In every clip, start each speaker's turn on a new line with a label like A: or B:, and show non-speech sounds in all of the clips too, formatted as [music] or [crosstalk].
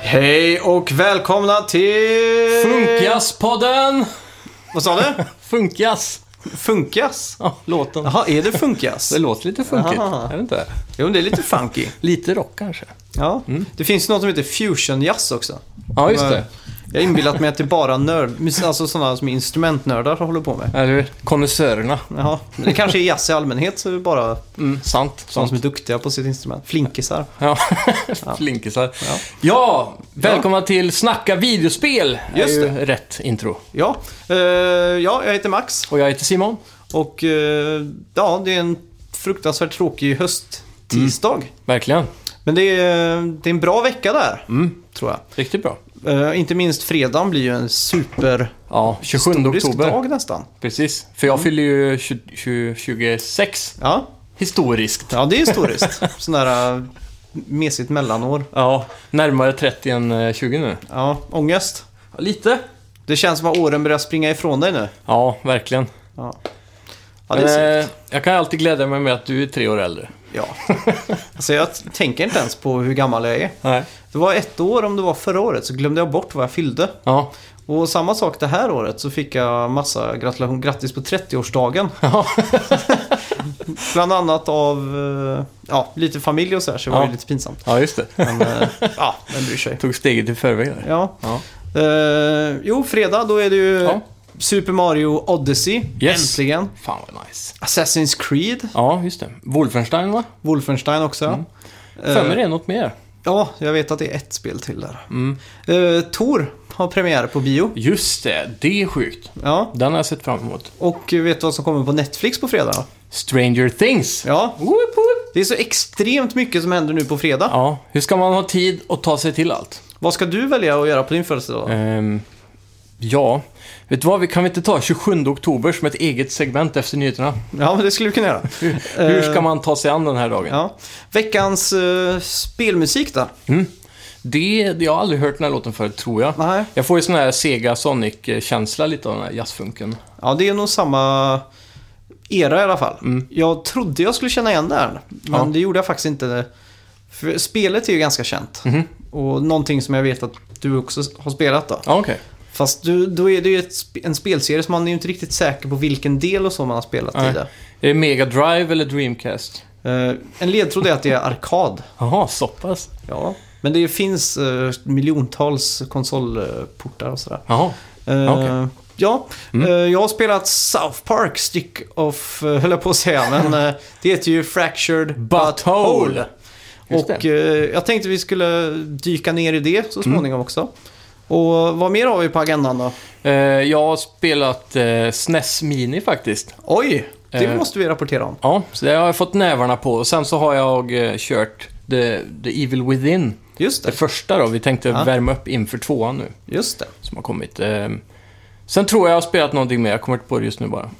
A: Hej och välkomna till...
B: Funkas-podden!
A: Vad sa
B: [laughs]
A: du?
B: Funkas!
A: Funkas?
B: Ja, låten.
A: Jaha, är det funkas?
B: [laughs] Det låter lite funkigt,
A: Aha.
B: är det inte?
A: Jo, men det är lite funky.
B: Lite rock kanske.
A: Ja. Det finns något som heter fusion-jazz också.
B: Ja, just
A: Men
B: det.
A: Jag har inbillat mig att det är bara nörd, [laughs] alltså sådana som är instrumentnördar som håller på med.
B: Eller hur? Konnässörerna.
A: Jaha. Men det kanske är jazz i allmänhet, så är det bara
B: Mm, sant.
A: de
B: sant.
A: som är duktiga på sitt instrument. Flinkisar.
B: Ja, [laughs] flinkisar.
A: Ja.
B: Ja. välkomna till Snacka videospel.
A: Just
B: är ju rätt intro.
A: Ja, eh, ja, jag heter Max
B: Och jag heter Simon.
A: och eh, ja, det är en fruktansvärt tråkig hösttisdag.
B: Mm. Verkligen.
A: Men det är, det är en bra vecka där, tror jag.
B: Riktigt bra.
A: Eh, inte minst fredagen blir ju en super
B: Ja, 27
A: historisk
B: oktober.
A: dag nästan.
B: Precis. För jag fyller ju 20, 20, 26
A: Ja,
B: historiskt.
A: ja det är historiskt. Sån där eh, mesigt mellanår.
B: Ja, närmare 30 än eh, 20 nu.
A: Ja, ångest.
B: Ja, Lite.
A: Det känns som att åren börjar springa ifrån dig nu.
B: Ja, verkligen.
A: Ja, ja det är
B: Men, eh, jag kan alltid glädja mig med att du är tre år äldre.
A: Ja. Alltså jag t- tänker inte ens på hur gammal jag är.
B: Nej.
A: Det var ett år, om det var förra året, så glömde jag bort vad jag fyllde.
B: Ja.
A: Och samma sak det här året så fick jag massa gratulation. Grattis på 30-årsdagen.
B: Ja.
A: [laughs] Bland annat av eh, ja, lite familj och så här, så det var
B: Ja.
A: ju lite pinsamt.
B: ja, just det. [laughs]
A: Men eh, ja, vem bryr sig?
B: Tog steget i förväg där.
A: Ja.
B: Ja.
A: Eh, jo, fredag då är det ju
B: Ja.
A: Super Mario Odyssey.
B: Yes.
A: Äntligen.
B: Fan vad nice.
A: Assassin's Creed.
B: Ja, just det. Wolfenstein va?
A: Wolfenstein också. Mm.
B: För mig det Mm. är något mer.
A: Ja, jag vet att det är ett spel till där. Eh, Tor har premiär på bio.
B: Just det, det är sjukt.
A: Ja,
B: Den har jag sett fram emot.
A: och vet du vad som kommer på Netflix på fredag?
B: Stranger Things.
A: Ja,
B: Woop, woop.
A: det är så extremt mycket som händer nu på fredag.
B: Ja, hur ska man ha tid att ta sig till allt?
A: Vad ska du välja att göra på din födelsedag?
B: Ehm, ja, vet du vad? Vi kan vi inte ta 27 oktober som ett eget segment efter nyheterna?
A: Ja, men det skulle vi kunna göra.
B: [laughs] Hur
A: Eh.
B: ska man ta sig an den här dagen?
A: Ja. Veckans eh, spelmusik då?
B: Det, det, jag har aldrig hört den här låten förut, tror jag.
A: Nej.
B: Jag får ju sån här Sega Sonic-känsla lite av den här jazzfunken.
A: Ja, det är nog samma era i alla fall. Jag trodde jag skulle känna igen det här, men
B: Mm. Ja.
A: det gjorde jag faktiskt inte. För spelet är ju ganska känt.
B: Mhm.
A: Och någonting som jag vet att du också har spelat då.
B: Ja, okej.
A: Fast du, då är det ju ett, sp- en spelserie som man är ju inte riktigt säker på vilken del och så man har spelat i
B: Nej.
A: det.
B: Är det Mega Drive eller Dreamcast?
A: Eh, en ledtråd är att det är arkad.
B: Jaha, så pass.
A: Ja. Men det finns eh, miljontals konsolportar och sådär.
B: Jaha.
A: Eh,
B: Ah, Okej. Mm.
A: Ja, eh, jag har spelat South Park Stick of, eh, höll jag på att säga,
B: [laughs]
A: men eh, det heter ju Fractured Butthole.
B: Butthole. Just Mm.
A: Och eh, jag tänkte vi skulle dyka ner i det så småningom också. Och vad mer har vi på agendan då?
B: Eh, jag har spelat eh, SNES Mini faktiskt.
A: Oj, det
B: Eh.
A: måste vi rapportera om.
B: Ja, så det har jag fått nävarna på. Och sen så har jag eh, kört The, The Evil Within.
A: Just
B: Det
A: det,
B: första då. Vi tänkte
A: Ja.
B: värma upp inför tvåan nu,
A: just
B: [laughs]
A: det.
B: som har kommit. Eh, sen tror jag jag har spelat någonting mer. Jag kommer inte på det just nu bara.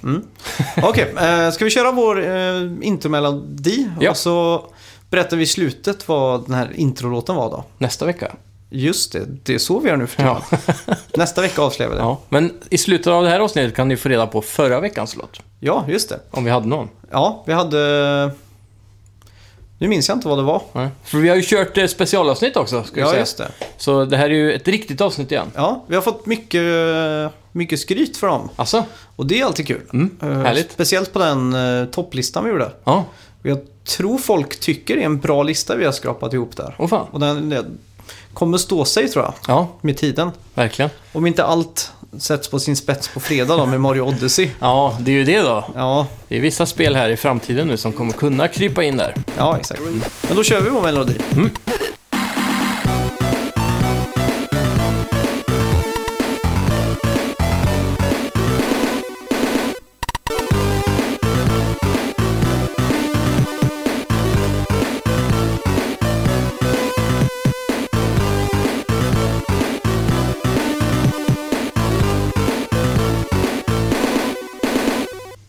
A: Okej, eh, ska vi köra vår eh, intromelodi?
B: Ja.
A: Och så berättar vi i slutet vad den här introlåten var då.
B: Nästa vecka.
A: Just det, det är så vi gör nu för tiden.
B: Ja. [laughs]
A: Nästa vecka avslöjar vi det.
B: Ja, men i slutet av det här avsnittet kan ni få reda på förra veckans låt.
A: ja, just det.
B: Om vi hade någon.
A: Ja, vi hade... Nu minns jag inte vad det var.
B: Nej. För vi har ju kört eh, specialavsnitt också, ska jag
A: Ja,
B: säga.
A: just det.
B: Så det här är ju ett riktigt avsnitt igen.
A: Ja, vi har fått mycket, mycket skryt för dem.
B: Alltså?
A: Och det är alltid kul.
B: Mm,
A: Eh,
B: härligt.
A: Speciellt på den eh, topplistan vi gjorde.
B: Ja,
A: Och Jag tror folk tycker det är en bra lista vi har skrapat ihop där.
B: åh fan.
A: Och den, den kommer stå sig tror jag,
B: Ja,
A: med tiden.
B: verkligen.
A: Om inte allt sätts på sin spets på fredag då med Mario Odyssey.
B: Ja, det är ju det då.
A: Ja,
B: Det är vissa spel här i framtiden nu som kommer kunna krypa in där. [laughs]
A: ja exakt.
B: Mm.
A: Men då kör vi vår melodi.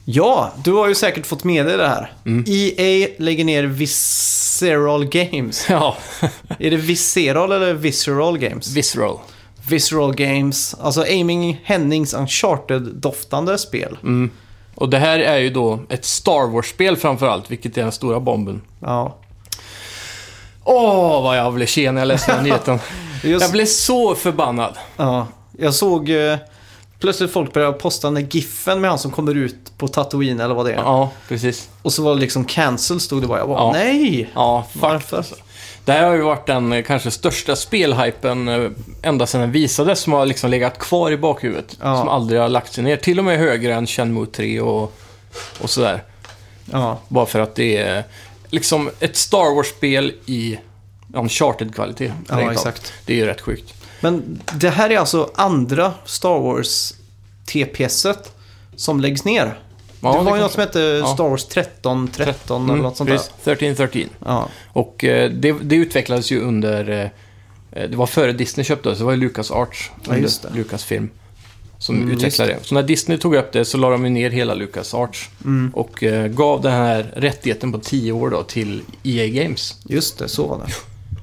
A: Ja, du har ju säkert fått med dig det här.
B: Mm.
A: EA lägger ner Visceral Games.
B: Ja, [laughs]
A: Är det Visceral eller Visceral Games?
B: Visceral.
A: Visceral Games, alltså Aiming Hennings Uncharted-doftande spel.
B: Mm. Och det här är ju då ett Star Wars-spel framför allt, vilket är den stora bomben.
A: Ja.
B: Åh, vad jag blev tje när jag läste den nyheten. Jag
A: [laughs] Just,
B: blev så förbannad.
A: ja, jag såg eh, plötsligt folk började posta den där giffen med han som kommer ut på Tatooine eller vad det är.
B: Ja, precis.
A: Och så var det liksom cancel stod det bara. Jag bara,
B: Ja.
A: nej!
B: Ja, fuck.
A: Varför?
B: Alltså. Det här har ju varit den eh, kanske största spelhypen eh, ända sedan den visades som har liksom legat kvar i bakhuvudet.
A: Ja.
B: Som aldrig har lagt sig ner. Till och med högre än Shenmue 3 och, och sådär.
A: Ja,
B: Bara för att det är liksom ett Star Wars-spel i Uncharted-kvalitet.
A: Ja,
B: rent av.
A: exakt.
B: Det är ju rätt sjukt.
A: men det här är alltså andra Star Wars TPSet som läggs ner.
B: Ja,
A: det var
B: det
A: ju något
B: kanske-
A: som hette
B: ja. mm,
A: Star Wars 13, 13 eller Mm. något sånt där.
B: precis. 1313.
A: Ja,
B: Och eh, det, det utvecklades ju under... eh, Eh, det var före Disney köpte det, så det var ju Lucas Arts.
A: Ja, just det.
B: Lucas film. Som
A: Mm,
B: utvecklade det. Så när Disney tog upp det så la de ju ner hela Lucas Arts.
A: Mm.
B: Och eh, gav den här rättigheten på 10 år då till EA Games.
A: just det. Så var det.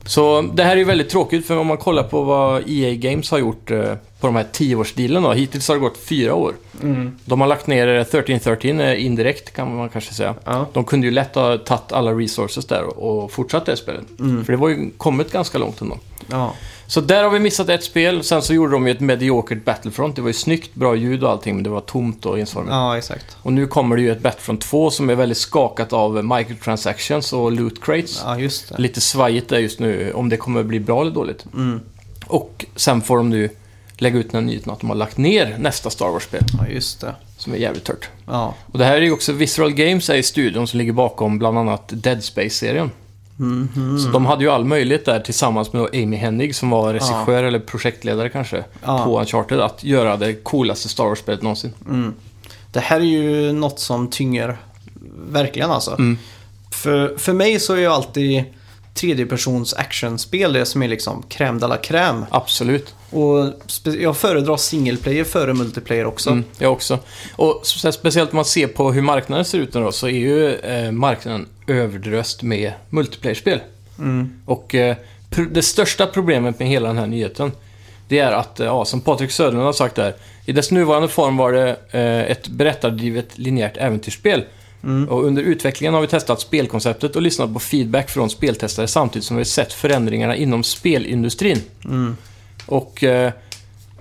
B: Så det här är ju väldigt tråkigt för om man kollar på vad EA Games har gjort eh, på de här 10-årsdealen då. Hittills har det gått fyra år.
A: Mm.
B: De har lagt ner eh, 1313 eh, indirekt kan man kanske säga.
A: Ja.
B: De kunde ju lätt ha tagit alla resources där och och fortsatt det spelet.
A: Mm.
B: För det var ju kommit ganska långt ändå.
A: Ja.
B: Så där har vi missat ett spel. Sen så gjorde de ju ett mediokert Battlefront. Det var ju snyggt, bra ljud och allting, men det var tomt och ensformigt.
A: ja, exakt.
B: Och nu kommer det ju ett Battlefront 2 som är väldigt skakat av eh, microtransactions och loot crates
A: Ja, just det.
B: lite svajigt där just nu om det kommer bli bra eller dåligt. Och sen får de nu lägga ut den här nyheten att de har lagt ner nästa Star Wars-spel,
A: Ja, just det.
B: som är jävligt tört.
A: Ja,
B: Och det här är ju också, Visceral Games är ju studion som ligger bakom bland annat Dead Space-serien. Så de hade ju all möjlighet där tillsammans med då Amy Hennig som var regissör eller projektledare kanske
A: Ja.
B: på Uncharted att göra det coolaste Star Wars-spelet någonsin.
A: det här är ju något som tynger verkligen alltså.
B: Mm.
A: För, för mig så är ju alltid tredjepersons actionspel det som är liksom crème de la crème.
B: Absolut.
A: Och spe- jag föredrar single player före multiplayer också.
B: Mm, jag också. Och spe- speciellt om man ser på hur marknaden ser ut nu då, så är ju eh, marknaden överdröst med multiplayer-spel. Och eh, pr- det största problemet med hela den här nyheten, det är att, eh, ja, som Patrik Söderlund har sagt där, i dess nuvarande form var det eh, ett berättardrivet linjärt äventyrsspel. Och under utvecklingen har vi testat spelkonceptet och lyssnat på feedback från speltestare samtidigt som vi sett förändringarna inom spelindustrin. Och eh,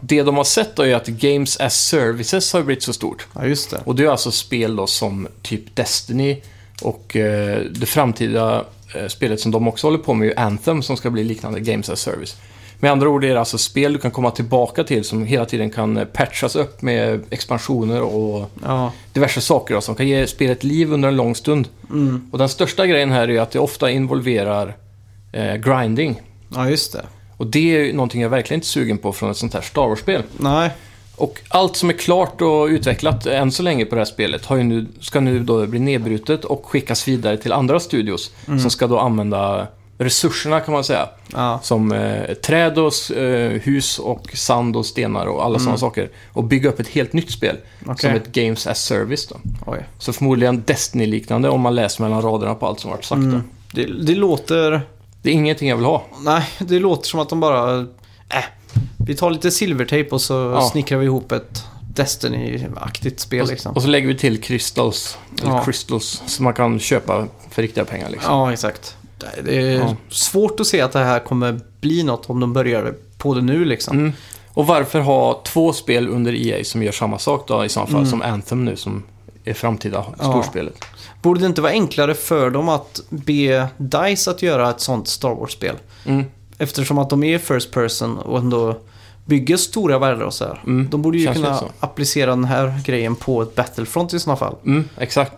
B: det de har sett då är att Games as Services har blivit så stort.
A: Ja, just det.
B: Och det är alltså spel då som typ Destiny och eh, det framtida eh, spelet som de också håller på med är ju Anthem som ska bli liknande Games as Service. Med andra ord är det alltså spel du kan komma tillbaka till som hela tiden kan eh, patchas upp med expansioner och
A: Ja,
B: diverse saker då, som kan ge spelet liv under en lång stund. Och den största grejen här är ju att det ofta involverar eh, grinding.
A: ja just det.
B: Och det är ju någonting jag verkligen inte är sugen på från ett sånt här Star Wars-spel.
A: Nej,
B: Och allt som är klart och utvecklat än så länge på det här spelet har ju nu, ska nu då bli nedbrutet och skickas vidare till andra studios
A: Mm.
B: som ska då använda resurserna kan man säga.
A: ja,
B: Som eh, träd och s- eh, hus och sand och stenar och alla sådana saker. Och bygga upp ett helt nytt spel.
A: Mm. Okej.
B: Som ett Games as Service då.
A: oj.
B: Så förmodligen Destiny-liknande om man läser mellan raderna på allt som varit sagt. då.
A: Mm. Det, det låter...
B: Det är ingenting jag vill ha.
A: Nej, det låter som att de bara... Äh, vi tar lite silvertejp och så
B: Ja.
A: snickrar vi ihop ett Destiny-aktigt spel
B: Och,
A: liksom.
B: och så lägger vi till crystals, eller
A: Ja.
B: crystals som man kan köpa för riktiga pengar. Liksom.
A: Ja, exakt. Det- Det är
B: Ja.
A: svårt att se att det här kommer bli något om de börjar på det nu liksom.
B: Mm. Och varför ha två spel under EA som gör samma sak då i så fall som Anthem nu som är framtida
A: Mm. Ja.
B: storspelet?
A: Borde det inte vara enklare för dem att be DICE att göra ett sånt Star Wars-spel?
B: Mm.
A: Eftersom att de är first person och ändå bygger stora världar och så här.
B: Mm,
A: De borde ju
B: känns
A: kunna
B: lite så.
A: applicera den här grejen på ett Battlefront i sådana fall.
B: Mm, exakt.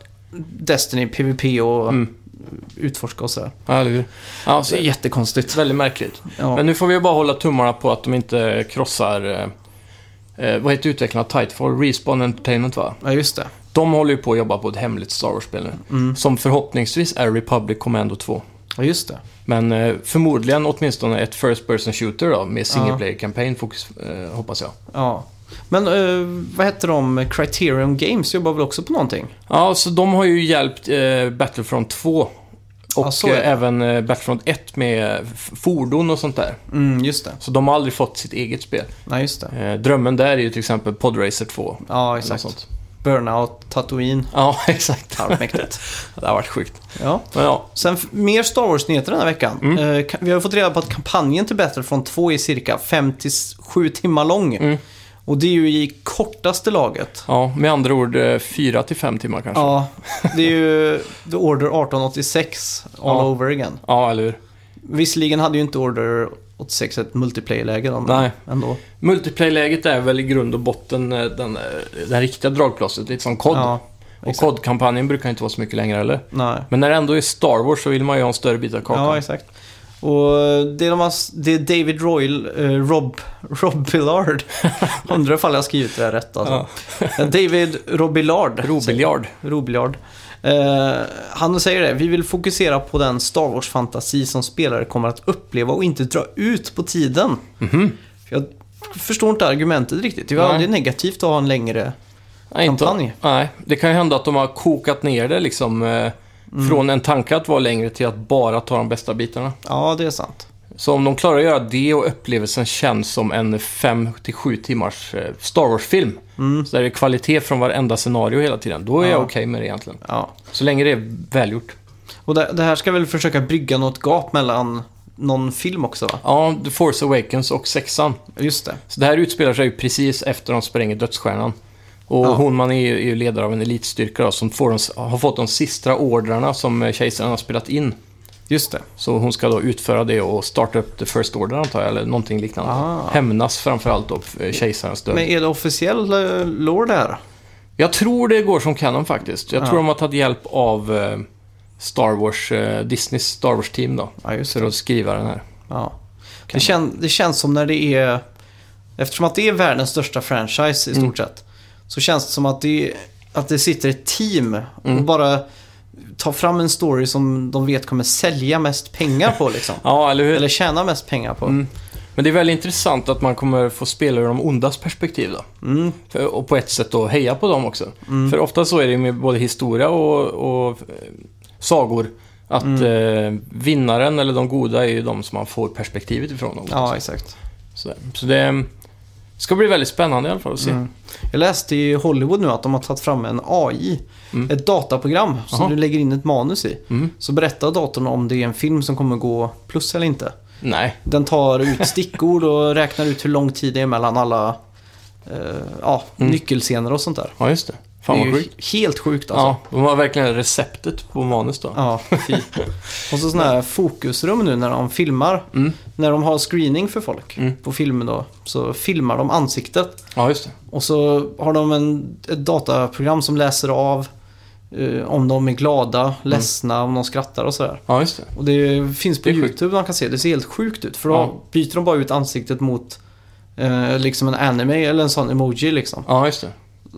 A: Destiny, PVP och
B: Mm.
A: utforska och så här.
B: Ja, eller hur? Ja, så,
A: Det är jättekonstigt.
B: väldigt märkligt.
A: Ja.
B: Men nu får vi ju bara hålla tummarna på att de inte krossar... eh, Eh, vad heter utvecklarna? Titanfall? Respawn Entertainment, va?
A: ja, just det.
B: De håller ju på att jobba på ett hemligt Star Wars-spel nu.
A: Mm.
B: Som förhoppningsvis är Republic Commando 2.
A: Ja, just det.
B: Men eh, förmodligen åtminstone ett First Person Shooter då, med single
A: Ja.
B: player campaign fokus, eh, hoppas jag.
A: Ja. Men eh, vad heter de? Criterion Games jobbar väl också på någonting?
B: Ja, så de har ju hjälpt eh, Battlefront 2 och
A: Ja, så är det.
B: eh, även eh, Battlefront 1 med f- fordon och sånt där.
A: Mm, just det.
B: Så de har aldrig fått sitt eget spel.
A: Nej, just det.
B: Eh, drömmen där är ju till exempel Podracer 2.
A: Ja,
B: eller något
A: exakt.
B: sånt.
A: Burnout, Tatooine.
B: Ja, [laughs] exakt.
A: Fan, vad
B: [laughs]
A: mäktigt.
B: Det har varit sjukt.
A: Ja.
B: Men ja,
A: Sen f- mer Star Wars-nyheter den här veckan.
B: Mm.
A: Eh, ka- vi har ju fått reda på att kampanjen till Battlefront 2 är cirka 5 till 7 timmar lång.
B: Mm.
A: Och det är ju i kortaste laget.
B: ja med andra ord eh, 4-5 timmar kanske. Ja,
A: Ja, det är ju The Order 1886 all
B: Ja.
A: over again.
B: eller hur?
A: Visserligen hade ju inte Order 86 ett multiplayer-läge då, men
B: Nej.
A: ändå.
B: Multiplayer-läget är väl i grund och botten eh, den, eh, den riktiga dragplåstret, lite som COD.
A: Ja,
B: och
A: exakt.
B: COD-kampanjen brukar inte vara så mycket längre heller.
A: Nej.
B: Men när det ändå är Star Wars så vill man ju ha en större bit av kakan.
A: Ja, exakt. Och det är, de har, det är David Royal, eh, Rob, [laughs] Rob
B: [laughs]
A: Billard. Undrar ifall jag har skrivit det här rätt alltså. [laughs] David Robillard.
B: Robiljard.
A: Robiljard. Eh, han säger det, vi vill fokusera på den Star Wars-fantasi som spelare kommer att uppleva och inte dra ut på tiden. Jag förstår inte argumentet riktigt. Det är ju
B: Nej.
A: aldrig negativt att ha en längre...
B: Nej, inte-
A: Kampanj.
B: Nej, det kan ju hända att de har kokat ner det liksom. Eh,
A: Mm.
B: Från en tanke att vara längre till att bara ta de bästa bitarna.
A: Ja, det är sant.
B: Så om de klarar att göra det och upplevelsen känns som en 5-7 timmars eh, Star Wars-film. Så där det är kvalitet från varenda scenario hela tiden. Då är jag
A: Mm. Ja.
B: okej med det egentligen.
A: Ja.
B: Så länge det är välgjort.
A: Och det, det här ska väl försöka brygga något gap mellan någon film också va?
B: Ja, The Force Awakens och sexan.
A: Just det.
B: Så det här utspelar sig ju precis efter de spränger dödsstjärnan. Och
A: Ja.
B: hon man är ju, är ju ledare av en elitstyrka då, som får de, har fått de sista ordrarna som eh, kejsaren har spelat in.
A: Just det.
B: Så hon ska då utföra det och starta upp The First Order antar jag, eller någonting liknande.
A: Ah. Mm.
B: Hämnas framförallt då för, eh, kejsarens död.
A: Men är det officiell eh, lore det här?
B: Jag tror det går som kanon faktiskt. Jag
A: Ja.
B: tror de har tagit hjälp av eh, Star Wars, eh, Disneys Star Wars-team då.
A: Ja, just
B: För att skriva den här.
A: Ja. Det, kän, det känns som när det är... Eftersom att det är världens största franchise i stort sett. Så känns det som att det, att det sitter ett team och bara tar fram en story som de vet kommer sälja mest pengar på liksom.
B: Ja, eller hur?
A: Eller tjäna mest pengar på. Mm.
B: Men det är väldigt intressant att man kommer få spela ur de ondas perspektiv då.
A: Mm.
B: För, och på ett sätt då heja på dem också. För ofta så är det med både historia och, och eh, sagor. Att
A: Mm.
B: eh, vinnaren eller de goda är ju de som man får perspektivet ifrån. Dem.
A: Ja, exakt.
B: Så, så det mm, ska bli väldigt spännande i alla fall att se.
A: Mm. Jag läste i Hollywood nu att de har tagit fram en AI. Ett dataprogram som
B: Aha.
A: du lägger in ett manus i. Så berättar datorn om det är en film som kommer gå plus eller inte.
B: Nej,
A: Den tar ut stickord och räknar ut hur lång tid det är mellan alla eh, ja, nyckelscener och sånt där.
B: ja just det. Mm. Fan
A: det är
B: vad
A: ju
B: sjukt.
A: he- helt sjukt alltså.
B: Ja, de har verkligen receptet på manus då.
A: Ja,
B: [laughs]
A: fy. Och så sådana här fokusrum nu när de filmar.
B: Mm.
A: När de har screening för folk på filmen då, så filmar de ansiktet.
B: Ja, just det.
A: Och så har de en, ett dataprogram som läser av eh, om de är
B: Mm.
A: glada, ledsna, om de skrattar och sådär.
B: Ja, just det.
A: Och det finns på
B: Det är sjukt.
A: YouTube man kan se. Det ser helt sjukt ut. För då
B: Ja.
A: byter de bara ut ansiktet mot eh, liksom en anime eller en sån emoji liksom.
B: Ja, just det.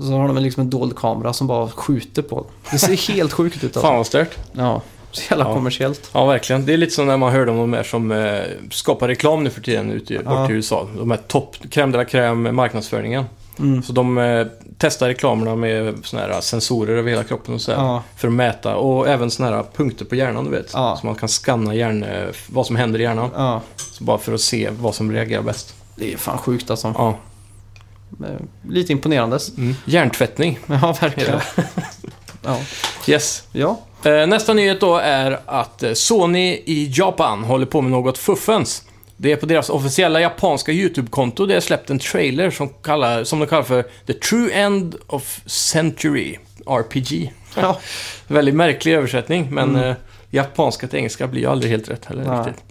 A: Så har de liksom en dold kamera som bara skjuter på dem. Det ser helt sjukt ut alltså.
B: Fan vad stört.
A: Ja. Så jävla
B: Ja.
A: kommersiellt.
B: Ja, verkligen. Det är lite som när man hörde om de här som eh, skapar reklam nu för tiden ute i, bort i USA. De här topp, crème de la crème marknadsföringen.
A: Mm.
B: Så de eh, testar reklamerna med såna här sensorer över hela kroppen och så här,
A: Ja.
B: För att mäta och även såna här punkter på hjärnan, du vet.
A: Ja.
B: Så man kan skanna hjärn, eh, vad som händer i hjärnan.
A: Ja.
B: Så bara för att se vad som reagerar bäst.
A: Det är fan sjukt alltså.
B: Ja.
A: Eh, Lite imponerande. [laughs]
B: Mm. Hjärntvättning.
A: Ja, verkligen. Ja.
B: Yes.
A: ja.
B: Eh, Nästa nyhet då är att eh, Sony i Japan håller på med något fuffens. Det är på deras officiella japanska YouTube-konto det är släppt en trailer som, kallar, som de kallar för The True End of Century RPG.
A: Ja.
B: Väldigt märklig översättning, men eh, japanska till engelska blir ju aldrig helt rätt heller.
A: Mm. Nej.
B: Riktigt.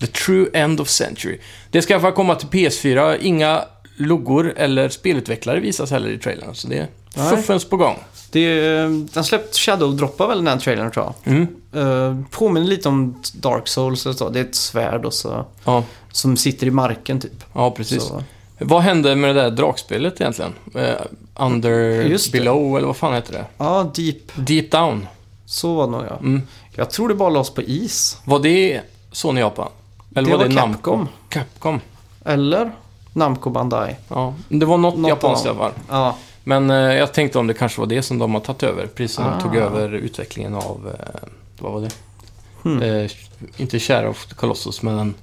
B: The True End of Century. Det ska i alla fall komma till PS4. Inga loggor eller spelutvecklare visas heller i trailern, så det är
A: Nej.
B: fuffens på gång.
A: Det är, den släppt Shadow droppar väl den här trailern tror jag.
B: Mm.
A: Eh, påminner lite om Dark Souls eller så. Det är ett svärd och så,
B: Ja,
A: som sitter i marken typ.
B: ja, precis.
A: Så.
B: Vad hände med det där drakspelet egentligen? Eh, under,
A: Just det.
B: below eller vad fan heter det?
A: Ja, Deep.
B: Deep down.
A: Så var det nog ja.
B: Mm.
A: Jag tror det bara lades på is.
B: Var det Sony Japan? Eller
A: det
B: var, det Namco?
A: Capcom.
B: Capcom.
A: Eller? Namco Bandai.
B: Ja, det var något,
A: Något
B: japanskt i
A: av
B: alla fall.
A: Ja,
B: Men eh, jag tänkte om det kanske var det som de har tagit över. Precis som
A: Ah.
B: de tog över utvecklingen
A: Hmm.
B: av, eh, vad var det? Eh, inte Shadow of the Colossus, men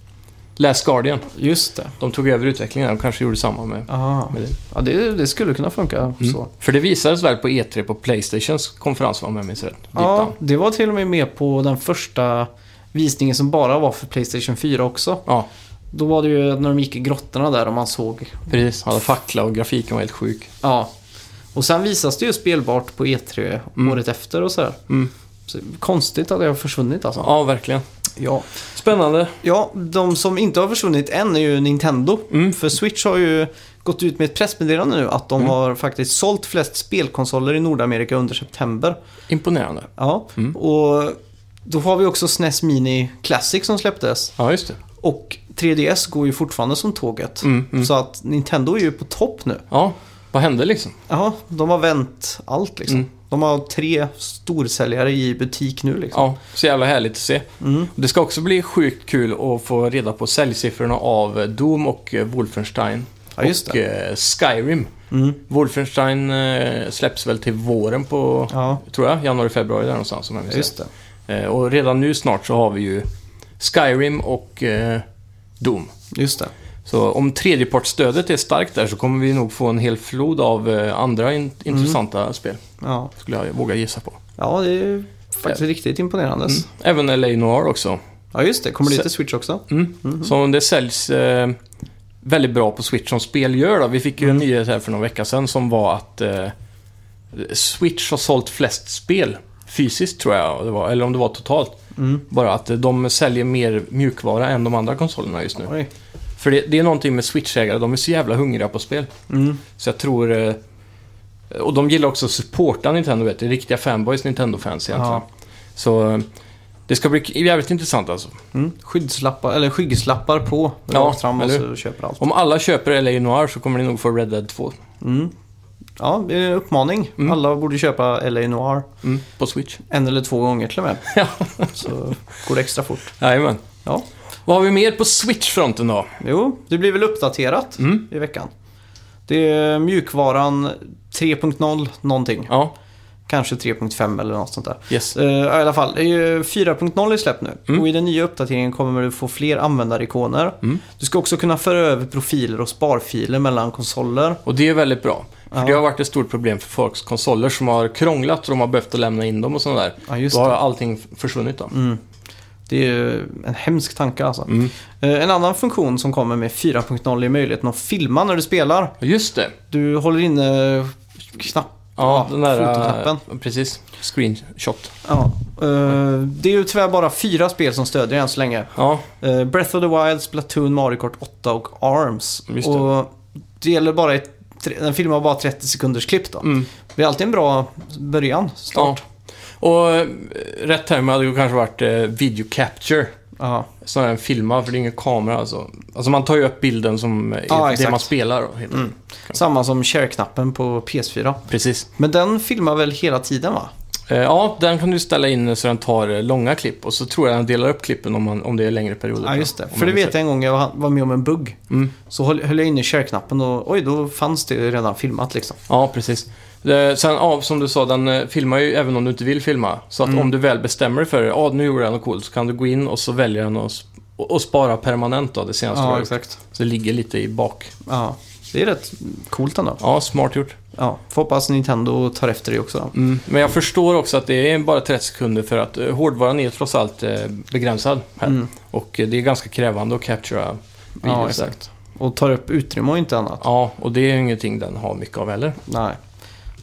B: Last Guardian.
A: Just det.
B: De tog över utvecklingen där. De kanske gjorde samma med...
A: Aha.
B: med det. Mm.
A: Ja, det, det skulle kunna funka så.
B: För det visades väl på E3 på Playstations konferens, va, om jag minns rätt? Deep
A: Ja,
B: Down.
A: det var till och med med på den första visningen som bara var för Playstation 4 också.
B: ja,
A: Då var det ju när de gick i grottorna där och man såg.
B: precis. Han hade fackla och grafiken var helt sjuk.
A: Ja. Och sen visas det ju spelbart på E3
B: Mm.
A: året efter och sådär.
B: Mm.
A: Så, konstigt att det har försvunnit alltså.
B: Ja, verkligen.
A: Ja.
B: Spännande.
A: ja, de som inte har försvunnit än är ju Nintendo.
B: Mm.
A: För Switch har ju gått ut med ett pressmeddelande nu att de har faktiskt sålt flest spelkonsoler i Nordamerika under september.
B: Imponerande.
A: Ja,
B: Mm.
A: och då har vi också SNES Mini Classic som släpptes.
B: Ja, just det.
A: Och 3DS går ju fortfarande som tåget.
B: Mm, mm.
A: Så att Nintendo är ju på topp nu.
B: Ja, vad hände liksom?
A: Ja, de har vänt allt liksom.
B: Mm.
A: De har tre storsäljare i butik nu liksom.
B: Ja, så jävla härligt att se.
A: Mm.
B: Det ska också bli sjukt kul att få reda på säljsiffrorna av eh, Doom och eh, Wolfenstein.
A: Ja, just
B: och
A: det.
B: eh, Skyrim.
A: Mm.
B: Wolfenstein eh, släpps väl till våren på,
A: Ja,
B: tror jag, januari, februari där någonstans. Om jag minns
A: just det.
B: rätt. Eh, Och redan nu snart så har vi ju Skyrim och eh, Doom.
A: Just det.
B: Så om tredjepartsstödet är starkt där så kommer vi nog få en hel flod av eh, andra in- intressanta spel.
A: Ja,
B: Skulle jag våga gissa på.
A: ja det är faktiskt riktigt imponerande.
B: Mm. Även LA Noir också.
A: Ja, just det. Kommer det
B: Så-
A: till Switch också?
B: Mm. Så om det säljs eh, väldigt bra på Switch som spel gör då. Vi fick ju en nyhet här för någon vecka sedan som var att eh, Switch har sålt flest spel fysiskt tror jag det var, eller om det var totalt. Bara att eh, de säljer mer mjukvara än de andra konsolerna just nu.
A: Oj.
B: För det, det är någonting med Switch-ägare, de är så jävla hungriga på spel.
A: Mm.
B: Så jag tror... eh, Och de gillar också att supporta Nintendo, vet du. Riktiga fanboys, Nintendo-fans egentligen.
A: Ja.
B: Så eh, det ska bli jävligt intressant alltså.
A: Mm. Skyddslappar, eller skyggslappar på.
B: Ja,
A: Ja, fram och
B: eller
A: så köper allt.
B: Om alla köper LA Noir så kommer ni nog få Red Dead 2
A: Mm. Ja, det är en uppmaning. Alla borde köpa LA Noir.
B: mm.
A: [laughs]
B: på Switch.
A: En eller två gånger till och
B: [laughs]
A: med.
B: Ja.
A: Så går det extra fort.
B: Jajamän.
A: Ja.
B: Vad har vi mer på Switch-fronten då?
A: Jo, det blir väl uppdaterat
B: Mm.
A: i veckan. Det är mjukvaran 3.0 någonting.
B: Ja,
A: Kanske 3.5 eller något sånt där.
B: yes.
A: Eh, ja, I alla fall, det är ju 4.0 är släppt nu.
B: Mm.
A: Och i den nya uppdateringen kommer du få fler användarikoner.
B: Mm.
A: Du ska också kunna föra över profiler och sparfiler mellan konsoler.
B: Och det är väldigt bra. För
A: Ja.
B: det har varit ett stort problem för folks konsoler som har krånglat och de har behövt att lämna in dem och sådär.
A: Ja, just
B: Då har
A: det. Mm.
B: allting försvunnit då.
A: Det är ju en hemsk tanke alltså.
B: Mm.
A: Eh, En annan funktion som kommer med 4.0 är möjligheten att filma när du spelar.
B: Just det.
A: Du håller inne knapp...
B: Ja, den där... eh,
A: fotoknappen.
B: Precis. Screenshot.
A: Ja. eh, Det är ju tyvärr bara fyra spel som stödjer det än så länge.
B: Ja,
A: Eh, Breath of the Wild, Splatoon, Mario Kart 8 och Arms.
B: Just det.
A: Och det gäller bara ett, tre- den filmar bara 30 sekunders klipp då.
B: Mm.
A: Det är alltid en bra början,
B: ja.
A: start.
B: Och eh, rätt term hade ju kanske varit eh, video capture.
A: Ja.
B: Snarare än filma, för det är ingen kamera alltså. Alltså man tar ju upp bilden som eh,
A: Ja,
B: det
A: exakt.
B: man spelar. då, Helt
A: Mm. Samma som share-knappen på PS4.
B: Precis.
A: Men den filmar väl hela tiden va?
B: Eh, Ja, den kan du ställa in så den tar eh, långa klipp och så tror jag den delar upp klippen om, man, om det är längre perioder.
A: Ja, just det.
B: Om
A: För
B: man
A: det
B: vill
A: vet
B: se.
A: jag en gång jag var- var med om en bugg.
B: Mm.
A: Så höll, höll jag inne share-knappen och oj, då fanns det redan filmat liksom.
B: Ja, precis. Eh, Sen, ja, som du sa, den eh, filmar ju även om du inte vill filma. Så att
A: Mm.
B: om du väl bestämmer dig för ja, nu gjorde jag något coolt, så kan du gå in och så väljer den att sp- och spara permanent då, det senaste du har gjort.
A: exakt.
B: Så det ligger lite i bak.
A: Ja, det är rätt coolt ändå.
B: Ja, smart gjort.
A: Ja, får hoppas Nintendo tar efter det också.
B: Mm. Men jag förstår också att det är bara 30 sekunder för att eh, hårdvaran är trots allt eh, begränsad här.
A: Mm.
B: Och eh, det är ganska krävande att captura videos.
A: Ja,
B: där.
A: exakt. Och tar upp utrymme och inte annat.
B: Ja, och det är ju ingenting den har mycket av heller.
A: Nej.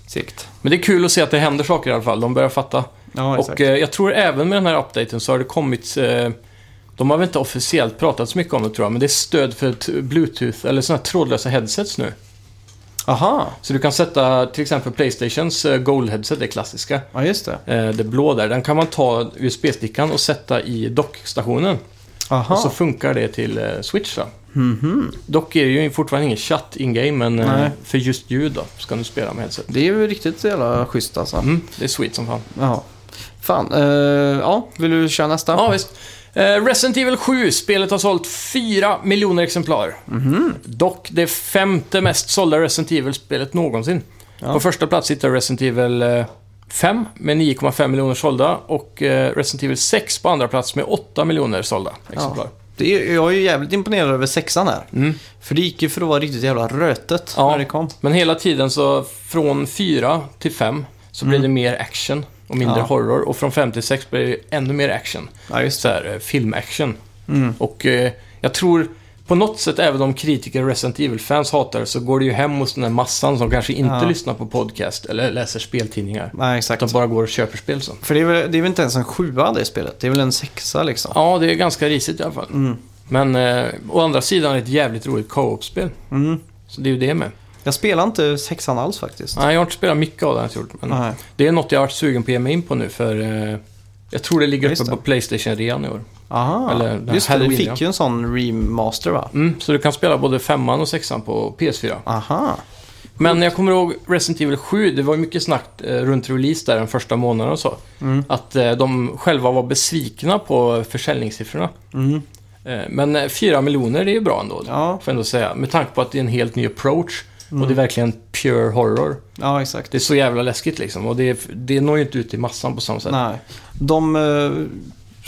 A: Sikt.
B: Men det är kul att se att det händer saker i alla fall. De börjar fatta.
A: Ja,
B: och eh, jag tror även med den här updaten så har det kommit... Eh, de har väl inte officiellt pratat så mycket om det tror jag, men det är stöd för t- Bluetooth eller sådana här trådlösa headsets nu.
A: Aha,
B: Så du kan sätta till exempel Playstations eh, Gold-headset, det klassiska.
A: ja just det.
B: Eh, det blå där, den kan man ta USB-stickan och sätta i dockstationen.
A: Aha.
B: Och så funkar det till eh, Switch då. Dock är det ju fortfarande ingen chatt in-game, men eh,
A: Mhm. Nej.
B: för just ljud då ska du spela med headset.
A: Det är ju riktigt jävla schysst alltså.
B: Mm, det är sweet som fan.
A: Ja. Fan, eh, ja, vill du köra nästa?
B: Ja, visst. Eh, Resident Evil 7, spelet har sålt 4 miljoner exemplar.
A: Mhm.
B: Dock det femte mest sålda Resident Evil-spelet någonsin.
A: Ja.
B: På första plats sitter Resident Evil eh, 5 med 9,5 miljoner sålda och eh, Resident Evil 6 på andra plats med 8 miljoner sålda exemplar.
A: Det är, jag är ju jävligt imponerad över sexan här.
B: Mm.
A: För det gick ju för att vara riktigt jävla rötet
B: Ja.
A: när det kom.
B: Men hela tiden så från 4 till 5 så blir det mer action och mindre
A: Mm. Ja.
B: horror. Och från 5 till 6 blir det ännu mer action.
A: Ja, just det.
B: Så här, eh, filmaction.
A: Mm.
B: Och eh, jag tror på något sätt, även om kritiker och Resident Evil-fans hatar det, så går det ju hem hos den där massan som kanske inte
A: Ja.
B: lyssnar på podcast eller läser speltidningar.
A: Nej, exakt.
B: Utan bara går och köper spel sen.
A: För det är, väl, det är väl inte ens en sjua det spelet. Det är väl en sexa liksom.
B: Ja, det är ganska risigt i alla fall.
A: Mm.
B: Men eh, å andra sidan är det ett jävligt roligt co-op-spel.
A: Mm.
B: Så det är ju det med.
A: Jag spelar inte sexan alls faktiskt.
B: Nej, jag har inte spelat mycket av det här, jag gjort, men
A: Nej.
B: det är något jag har varit sugen på att ge mig in på nu för eh, jag tror det ligger
A: Just
B: uppe på Playstation redan i år.
A: Aha,
B: Eller den här
A: just det. Du
B: Halloween,
A: fick
B: ja.
A: ju en sån remaster va?
B: Mm, så du kan spela både femman och sexan på PS4.
A: Aha.
B: Men jag kommer ihåg Resident Evil 7, det var ju mycket snack eh, runt release där den första månaden och så.
A: Mm.
B: Att eh, de själva var besvikna på försäljningssiffrorna.
A: Mm.
B: Eh, men eh, 4 miljoner det är ju bra ändå,
A: Ja. Mm.
B: får jag ändå säga. Med tanke på att det är en helt ny approach och det är verkligen pure horror.
A: ja, exakt.
B: Det är så jävla läskigt liksom och det, det når ju inte ut i massan på samma sätt.
A: Nej. De eh,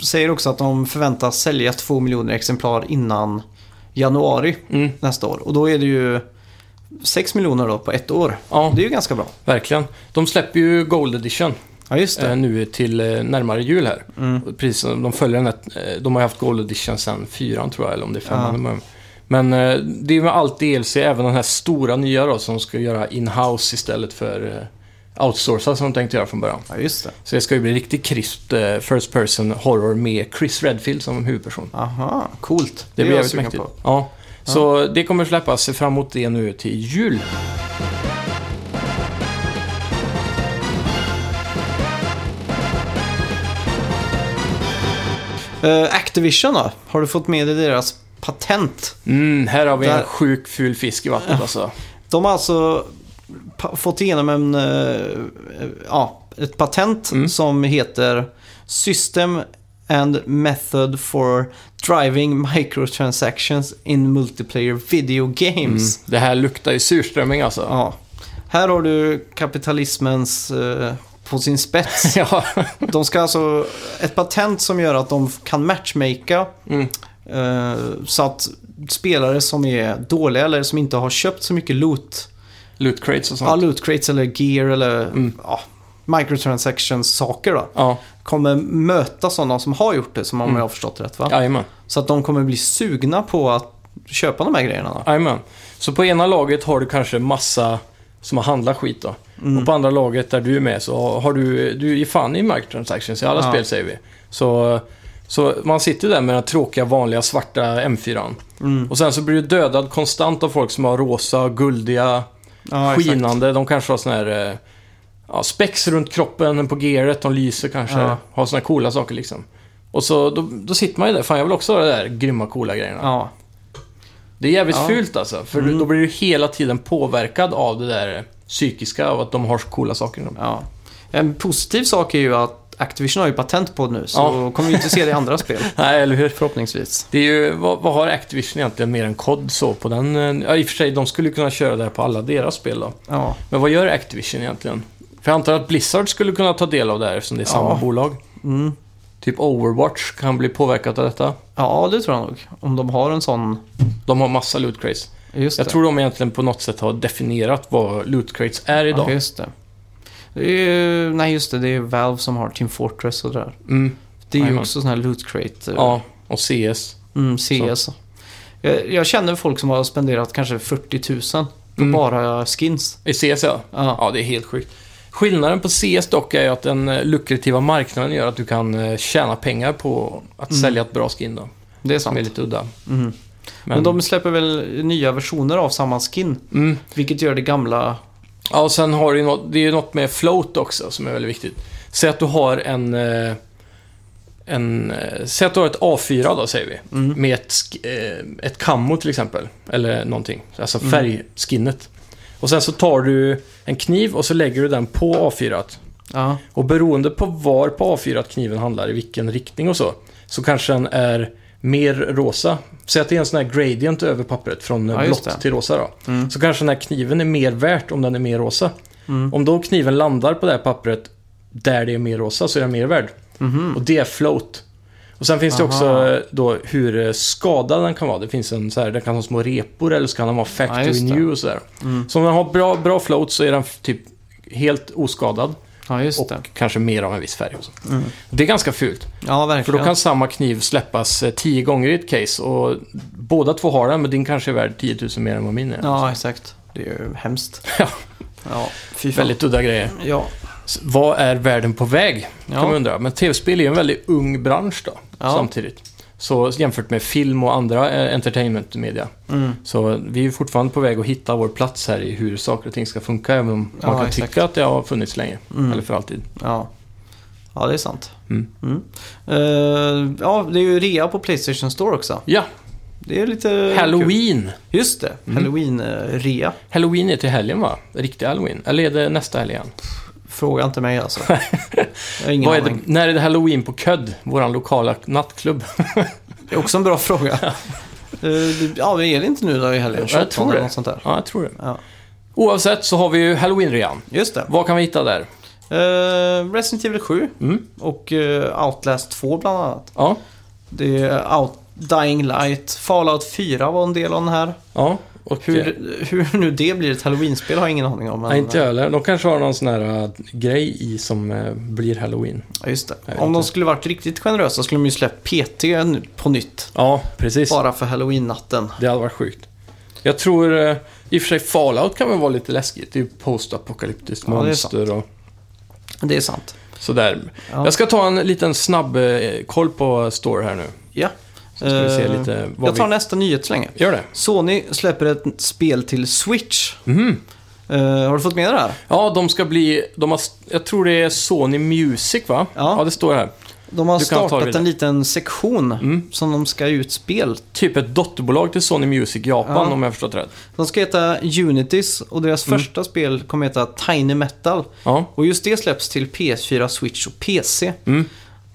A: säger också att de förväntas sälja två miljoner exemplar innan januari
B: Mm,
A: nästa år. Och då är det ju sex miljoner då på ett år.
B: ja,
A: Det är ju ganska bra.
B: verkligen. De släpper ju Gold Edition
A: Ja, just det.
B: eh, nu till eh, närmare jul här.
A: Mm.
B: Och Precis som de följer den här, eh, de har ju haft Gold Edition sen fyran tror jag, eller om det är femman.
A: Ja.
B: de har- Men eh, det är ju med allt DLC, även den här stora nya då, som ska göra in-house istället för eh, outsourca som de tänkte göra från början.
A: Ja, just det.
B: Så det ska ju bli riktigt krispt eh, First Person Horror med Chris Redfield som huvudperson.
A: Aha, coolt.
B: Det
A: är
B: blir
A: jag
B: jävligt
A: sugen
B: mäktigt.
A: på.
B: Ja. Så det kommer släppas Se fram emot det nu till jul.
A: Eh, Activision då? Har du fått med dig deras patent?
B: Mm, här har vi
A: Där-
B: en sjuk ful fisk i vattnet alltså.
A: De har alltså pa- fått igenom en, eh, eh, ja, ett patent
B: Mm.
A: som heter System and Method for Driving Microtransactions in Multiplayer Video
B: Mm.
A: Games.
B: Det här luktar ju surströmming alltså.
A: Ja. Här har du kapitalismens eh, på sin
B: [laughs]
A: spets.
B: Ja.
A: De ska alltså, ett patent som gör att de kan matchmaka
B: Mm.
A: eh, så att spelare som är dåliga eller som inte har köpt så mycket loot
B: Loot crates och
A: Ja,
B: sånt.
A: loot crates eller gear eller
B: Mm.
A: ja, microtransactions-saker då.
B: Ja, Mm.
A: Kommer möta sådana som har gjort det, som om jag har förstått det rätt va?
B: jajamän.
A: Så att de kommer bli sugna på att köpa de här grejerna då.
B: Jajamän. Så på ena laget har du kanske massa som har handlat skit då.
A: Mm.
B: Och på andra laget där du är med så har du, du är fan i microtransactions i alla
A: Ja.
B: spel säger vi. Så, så man sitter där med den tråkiga vanliga svarta M4.
A: Mm.
B: Och sen så blir du dödad konstant av folk som har rosa, guldiga,
A: Ja, exakt.
B: skinande. De kanske har sån här eh, ja, spex runt kroppen på gearet, de lyser kanske.
A: Ja.
B: Har såna här coola saker liksom. Och så då, då sitter man ju där, fan jag vill också ha de där grymma coola grejerna.
A: Ja.
B: Det är jävligt
A: Ja. Mm.
B: fult alltså, för då blir du hela tiden påverkad av det där psykiska, av att de har så coola saker. i dem.
A: ja. En positiv sak är ju att Activision har ju patent på det nu, så
B: Ja.
A: kommer vi inte se det i
B: [laughs]
A: andra spel.
B: Nej, eller hur?
A: Förhoppningsvis.
B: Det är ju, vad, vad har Activision egentligen mer än kod så på den? eh, Ja, i och för sig, de skulle ju kunna köra det här på alla deras spel då.
A: Ja,
B: Men vad gör Activision egentligen? För jag antar att Blizzard skulle kunna ta del av det här eftersom det är samma
A: Ja.
B: bolag.
A: mm.
B: Typ Overwatch kan bli påverkat av detta.
A: ja det tror jag nog. Om de har en sån...
B: De har massa loot crates.
A: Just
B: Jag
A: det.
B: tror de egentligen på något sätt har definierat vad loot crates är idag.
A: Ja, just det. det är, ju- nej, just det. Det är Valve som har Team Fortress och det där.
B: Mm,
A: Det är ju
B: Jajamän.
A: också sån här loot crate. eh,
B: ja, och CS.
A: Mm, CS. Jag, jag känner folk som har spenderat kanske 40 000 på
B: Mm.
A: bara skins.
B: I CS ja.
A: Ja.
B: Ja, det är helt sjukt. Skillnaden på CS dock är ju att den eh, lukrativa marknaden gör att du kan eh, tjäna pengar på att
A: Mm.
B: sälja ett bra skin då.
A: det är
B: Som
A: sant.
B: är lite udda.
A: Mm. Men...
B: Men,
A: de släpper väl nya versioner av samma skin,
B: mm.
A: vilket gör det gamla...
B: Ja, och sen har du ju något, det är ju något med float också som är väldigt viktigt. Säg att du har en... eh, en eh, säg att du har ett A4 då, säger vi.
A: Mm.
B: Med ett, sk- eh, ett kammo till exempel. Eller någonting. Alltså färgskinnet. Och sen så tar du en kniv och så lägger du den på A4. -at.
A: Ja.
B: Och beroende på var på A4 att kniven handlar, i vilken riktning och så, så kanske den är mer rosa. Säg att det är en sån här gradient över pappret, från
A: Ja, just
B: blått
A: det.
B: till rosa då.
A: Mm.
B: Så kanske den här kniven är mer värt om den är mer rosa.
A: Mm.
B: Om då kniven landar på det här pappret där det är mer rosa så är den mer värd.
A: Mhm.
B: Och det är float. Och sen finns det också
A: Aha.
B: eh, då hur eh, skadad den kan vara. Det finns en så här, den kan ha små repor eller så kan den vara
A: Ja,
B: factory
A: just det. Mm.
B: new och sådär. Så om den har bra, bra float så är den typ helt oskadad.
A: Ja, just
B: Och
A: det.
B: kanske mer av en viss färg också. Det är ganska fult.
A: Mm. Ja,
B: För
A: verkligen.
B: då kan samma kniv släppas eh, tio gånger i ett case och båda två har den men din kanske är värd 10 000 mer än vad min är.
A: Ja, exakt. Det är ju hemskt.
B: [laughs] Ja.
A: Ja, fy fan.
B: Väldigt udda grejer.
A: Ja,
B: S- Vad är världen på väg? Kan
A: Ja.
B: man undra. Men tv-spel är ju en väldigt ung bransch då,
A: Ja.
B: samtidigt. Så jämfört med film och andra eh, entertainmentmedia.
A: mm.
B: Så vi är ju fortfarande på väg att hitta vår plats här i hur saker och ting ska funka. Även om
A: Ja,
B: man kan
A: exakt.
B: tycka att det har funnits länge.
A: Mm.
B: Eller för alltid.
A: ja. ja det är sant.
B: Mm.
A: Eh, ja, det är ju rea på Playstation Store också.
B: Ja,
A: Det är ju lite... Kul.
B: Halloween! Mm.
A: Just det, eh, halloween-rea.
B: Halloween är till helgen va? Riktig Halloween. Eller är det nästa helg igen?
A: Fråga inte mig
B: [laughs]
A: alltså. Jag har ingen
B: Vad är det,
A: aning.
B: när är det Halloween på Ködd? Våran lokala
A: [laughs]
B: nattklubb.
A: Det är också en bra fråga. Eh, ja, men är det inte nu då i helgen?
B: Jag tror
A: 28 eller
B: det.
A: Något sånt där.
B: Ja, jag tror det.
A: Ja.
B: Oavsett så har vi ju Halloween-rean.
A: Just det.
B: Vad kan vi hitta där?
A: Uh, Resident Evil 7
B: Mm.
A: och eh, Outlast 2 bland annat.
B: Ja,
A: Det är Out, Dying Light, Fallout 4 var en del av den här.
B: ja. Och
A: Hur,
B: Hur,
A: hur nu det blir ett halloween-spel har jag ingen aning om. Men,
B: nej, inte jag heller. De kanske har någon sån här äh, grej i som äh, blir Halloween.
A: Ja, just det.
B: Jag vet
A: Om de
B: inte.
A: skulle varit riktigt generösa skulle de ju släppt PT nu på nytt.
B: Ja, precis.
A: Bara för halloween-natten.
B: Det hade varit sjukt. Jag tror, eh, i och för sig Fallout kan väl vara lite läskigt. Det är ju postapokalyptiskt
A: Ja, det är
B: monster och
A: Det är sant.
B: sådär.
A: Ja.
B: Jag ska ta en liten snabb eh, koll på Store här nu.
A: Ja.
B: Så ska vi se
A: Eh,
B: lite vad
A: jag tar
B: vi...
A: nästa nyhet så länge.
B: Gör det.
A: Sony släpper ett spel till Switch.
B: Mhm.
A: Eh, har du fått med det här?
B: Ja, de ska bli... De har, jag tror det är Sony Music, va?
A: Ja.
B: det står här.
A: De har
B: Du kan ta
A: startat
B: det.
A: en liten sektion
B: Mm.
A: som de ska ge ut spel.
B: Typ ett dotterbolag till Sony Music Japan,
A: Ja.
B: om jag har förstått rätt.
A: De ska heta Unities och deras
B: Mm.
A: första spel kommer heta Tiny Metal.
B: Ja.
A: Och just det släpps till PS4, Switch och PC.
B: Mm.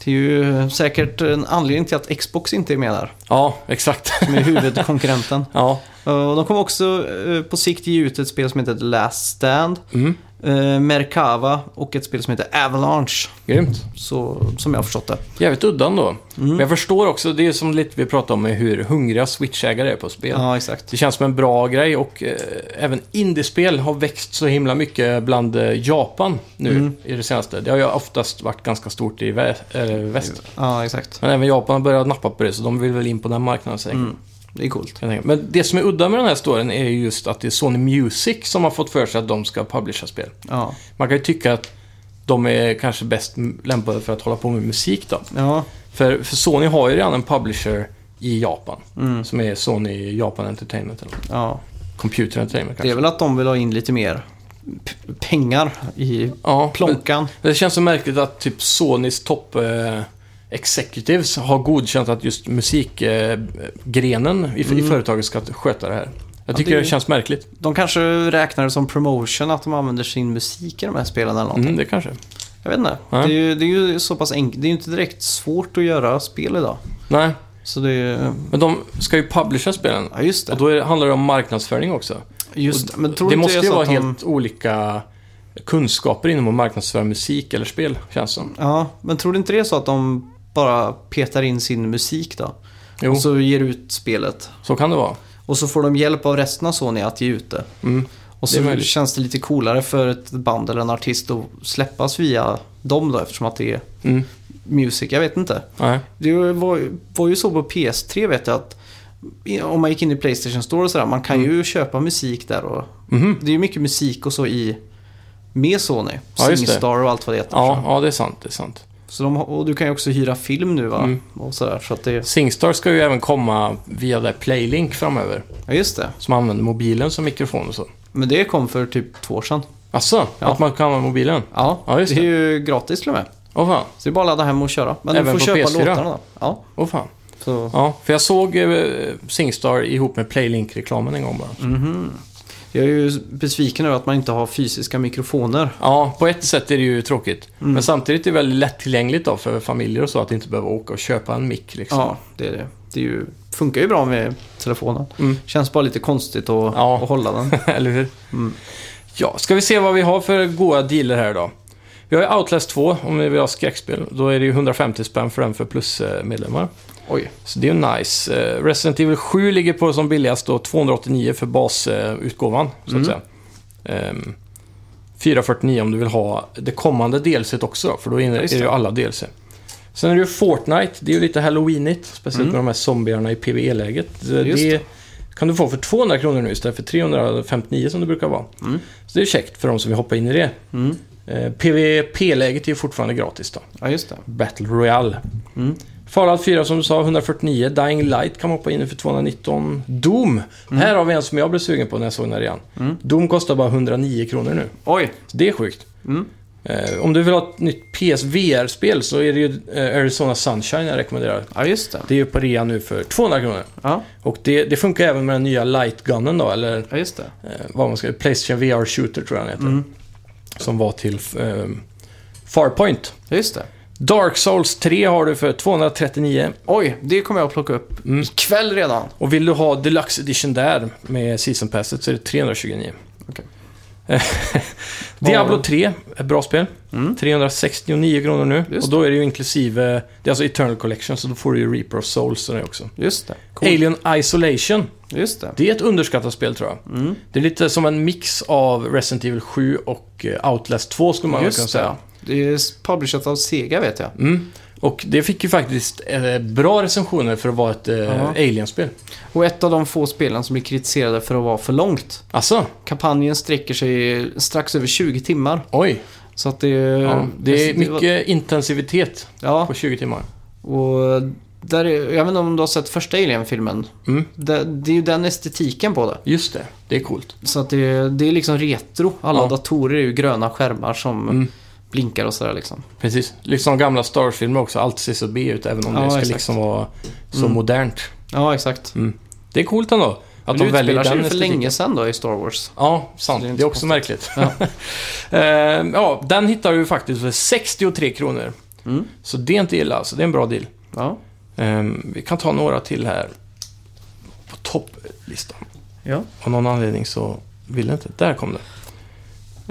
A: Det är ju säkert en anledning till att Xbox inte är med där,
B: Ja, exakt. [laughs]
A: som är huvudkonkurrenten.
B: ja.
A: Eh, och de kommer också eh, på sikt ge ut ett spel som heter The Last Stand,
B: Mm.
A: eh, Merkava och ett spel som heter Avalanche,
B: Grymt.
A: så, som jag har förstått det.
B: Jävligt uddan då.
A: Mm.
B: Men jag förstår också, det är som lite vi pratade om, med hur hungriga Switch-ägare är på spel.
A: Ja, exakt.
B: Det känns som en bra grej och eh, även indiespel har växt så himla mycket bland eh, Japan nu
A: Mm.
B: i det senaste. Det har ju oftast varit ganska stort i vä- eh, väst.
A: Ja, exakt.
B: Men även Japan har börjat nappa på det, så de vill väl in på den marknaden säkert.
A: Mm. Det är coolt.
B: kan jag tänka mig. Men det som är udda med den här storyn är ju just att det är Sony Music som har fått för sig att de ska publisha spel.
A: Ja.
B: Man kan ju tycka att de är kanske bäst m- lämpade för att hålla på med musik då.
A: Ja,
B: För, för Sony har ju redan en publisher i Japan.
A: Mm.
B: Som är Sony Japan Entertainment eller något.
A: ja.
B: Computer Entertainment
A: Det är
B: kanske.
A: väl att de vill ha in lite mer p- pengar i
B: Ja, men,
A: plånkan.
B: men det känns så märkligt att typ Sonys topp eh, executives har godkänt att just musikgrenen eh, grenen i, i företaget ska sköta det här. Jag tycker
A: Mm. det är-
B: det, känns märkligt.
A: De kanske räknar det som promotion att de använder sin musik i de här spelen eller något.
B: Mm, det kanske.
A: Jag vet inte. Det
B: Nej.
A: är, ju, det är ju så pass enkelt. Det är ju inte direkt svårt att göra spel idag.
B: Nej,
A: Så det är
B: men de ska ju publisha spelen.
A: Ja, just
B: Och
A: det.
B: då är, det- handlar det om marknadsföring också.
A: Just, det. men tror du
B: det
A: inte
B: måste
A: är
B: ju
A: så
B: vara
A: att de...
B: helt olika kunskaper inom att marknadsföra musik eller spel, känns som.
A: Ja, men tror du inte det är så att de bara petar in sin musik då?
B: Jo,
A: Och
B: så,
A: så ger ut spelet.
B: kan det vara.
A: Och så får de hjälp av resten av Sony att ge ut det.
B: Mm.
A: Och
B: Det
A: så
B: är möjligt.
A: känns det lite coolare för ett band eller en artist att släppas via dem då eftersom att det är
B: Mm.
A: music. Jag vet inte.
B: Nej.
A: Det var, var ju så på PS3 vet jag att i- om man gick in i Playstation Store och sådär, man kan ju köpa musik där och
B: Mm. Mhm.
A: det är ju mycket musik och så i med Sony.
B: Ja, just det.
A: Singstar och allt vad det heter.
B: Ja, ja, det är sant. Det är sant.
A: Så de, har- och du kan ju också hyra film nu va?
B: Mm.
A: Och sådär, så att det,
B: Singstar ska ju även komma via det här Playlink framöver.
A: ja just det.
B: Som använder mobilen som mikrofon och så.
A: Men det kom för typ två år sedan.
B: Asså,
A: Ja.
B: att man kan använda mobilen?
A: Ja,
B: Ja, just
A: det är ju gratis till och med.
B: Åh fan,
A: Så det är bara att ladda hem och köra. Men
B: Även
A: du får
B: på
A: köpa
B: PS4?
A: låtarna då. Ja,
B: åh fan.
A: så.
B: Ja, för jag såg eh, Singstar ihop med Playlink-reklamen en gång bara.
A: Jag är ju besviken över att man inte har fysiska mikrofoner.
B: Ja, på ett sätt är det ju tråkigt. Men samtidigt är det väldigt lättillgängligt då för familjer och så att inte behöva åka och köpa en mick liksom. [laughs]
A: Ja, det är det. Det är ju, funkar ju bra med telefonen.
B: Mm.
A: Känns bara lite konstigt att,
B: Ja. [laughs]
A: att hålla den.
B: Eller hur? Ja, ska vi se vad vi har för goda dealer här då. Vi har ju Outlast 2 om vi vill ha skräckspel. Då är det ju 150 spänn för eh, den för plusmedlemmar.
A: Oj.
B: Så det är ju nice. Eh, Resident Evil 7 ligger på som billigast då 289 för basutgåvan, så att
A: Mm.
B: säga. Ehm, 449 om du vill ha det kommande delset också, för då inne- är
A: Just
B: det ju
A: det.
B: alla DLC. Sen är det ju Fortnite, det är ju lite halloweenigt, speciellt
A: Mm.
B: med de här zombierna i PVE-läget. Det,
A: Just
B: Eh, det kan du få för 200 kronor nu istället för 359 som det brukar vara.
A: Mm.
B: Så det är ju käckt för de som vill hoppa in i det.
A: Mm.
B: Eh, PVP-läget är ju fortfarande gratis då.
A: Ja, just det.
B: Battle Royale.
A: Mm.
B: Fallout 4 som du sa, 149. Dying Light kan man hoppa in i för 219. Doom. Här har vi en som jag blev sugen på när jag såg den här igen.
A: Mm.
B: Doom kostar bara 109 kronor nu.
A: Oj.
B: Så det är sjukt.
A: Mm.
B: Eh, om du vill ha ett nytt PSVR-spel så är det ju eh, Arizona Sunshine jag rekommenderar.
A: Ja, just det.
B: Det är ju på rea nu för 200 kronor.
A: Ja,
B: Och det, det funkar även med den nya Lightgunnen då, eller
A: ja just det.
B: eh, vad man ska Playstation VR Shooter tror jag den heter.
A: Mm.
B: Som var till eh, Farpoint.
A: Ja, just det.
B: Dark Souls 3 har du för 239.
A: Oj, det kommer jag att plocka upp
B: Mm.
A: ikväll redan.
B: Och vill du ha Deluxe Edition där med Season Passet så är det 329.
A: Okej.
B: [laughs] Diablo 3, ett bra spel.
A: Mm.
B: 369 kronor nu.
A: Just
B: och då är det ju inklusive, det är alltså Eternal Collection, så då får du ju Reaper of Souls och det också.
A: Just det.
B: Alien Isolation,
A: Just det.
B: det är ett underskattat spel tror jag.
A: Mm.
B: Det är lite som en mix av Resident Evil 7 och eh, Outlast 2 skulle man väl
A: Just
B: kunna
A: det.
B: säga.
A: Det är publishat av Sega vet jag.
B: Mm. Och det fick ju faktiskt eh, bra recensioner för att vara ett eh,
A: Ja.
B: Alien-spel.
A: Och ett av de få spelen som blir kritiserade för att vara för långt.
B: Alltså,
A: Kampanjen sträcker sig strax över 20 timmar.
B: oj.
A: Så att det,
B: Ja, det är
A: det var-
B: mycket intensivitet
A: Ja,
B: på 20 timmar.
A: och där är, jag vet inte om du har sett första Alien-filmen.
B: Mm.
A: Det, det är ju den estetiken på det.
B: Just det, det är coolt.
A: Så att det, det är liksom retro. Alla
B: Ja.
A: datorer är ju gröna skärmar som
B: Mm.
A: blinkar och sådär liksom.
B: Precis. Liksom gamla Star-filmer också, allt ser så B ut även om
A: Ja,
B: det ska
A: exakt.
B: liksom vara så
A: Mm.
B: modernt.
A: Ja, exakt.
B: Det är coolt ändå. Att
A: Mm. Men
B: de
A: det
B: väljer
A: utspelar sig
B: den
A: ju för
B: estetiken.
A: länge sedan då i Star Wars.
B: Ja,
A: Så
B: sant.
A: det är
B: Det är,
A: inte så
B: också märkligt. [laughs] Ehm, ja, den hittar du faktiskt för 63 kronor.
A: Mm.
B: Så det är inte illa alltså. Det är en bra deal.
A: Ja.
B: Ehm, vi kan ta några till här på topplistan.
A: Ja.
B: Av någon anledning så ville inte. Där kom det.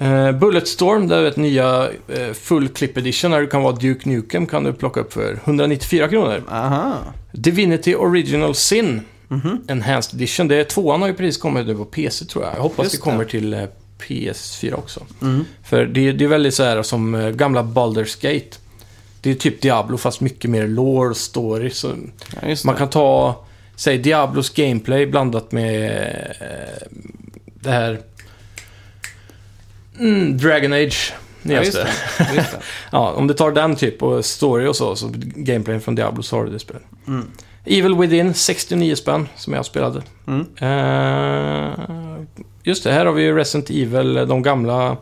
B: Eh, Bulletstorm, det är ett nya eh, Full Clip Edition där du kan vara Duke Nukem kan du plocka upp för 194 kronor.
A: Aha.
B: Divinity Original Sin
A: Mhm.
B: Enhanced Edition. Det är, tvåan har ju precis kommit nu på PC tror jag. Jag hoppas
A: Just
B: det kommer till eh, PS4 också.
A: Mm.
B: För det, det är väldigt så här som eh, gamla Baldur's Gate. Det är typ Diablo fast mycket mer lore, story. Så
A: Ja, just
B: man
A: det.
B: kan ta, säg Diablos gameplay blandat med eh, det här mm, Dragon Age.
A: Ja, just
B: nyaste.
A: det. Just det.
B: [laughs] Ja, om du tar den typ och story och så, så gameplayen från Diablo så har du det spelet.
A: Mm.
B: Evil Within, 69 spänn som jag spelade.
A: Mm.
B: Eh, just det, här har vi ju Resident Evil, eh, de gamla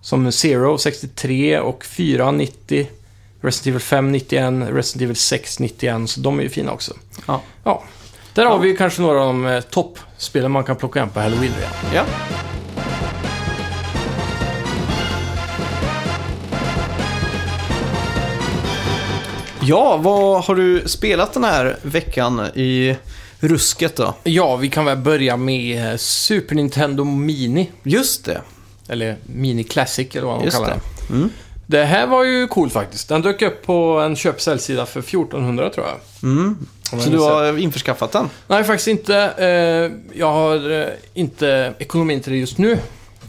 B: som Zero 63 och 4 90. Resident Evil 5 91, Resident Evil 6 91, så de är ju fina också.
A: Ja.
B: ja. Där har
A: Ja.
B: vi ju kanske några av de eh, toppspelen man kan plocka hem på Halloween redan.
A: Ja. Ja, vad har du spelat den här veckan i rusket då?
B: Ja, vi kan väl börja med eh, Super Nintendo Mini.
A: Just det.
B: Eller Mini Classic eller vad man
A: Just
B: kallar
A: det. Mm.
B: det. Det här var ju cool faktiskt. Den dök upp på en köp-säljsida för 1400 tror jag.
A: Mm.
B: Om
A: Så
B: jag
A: du
B: minns rätt.
A: har införskaffat den?
B: Nej, faktiskt inte. Eh, Jag har eh, inte ekonomin till det just nu.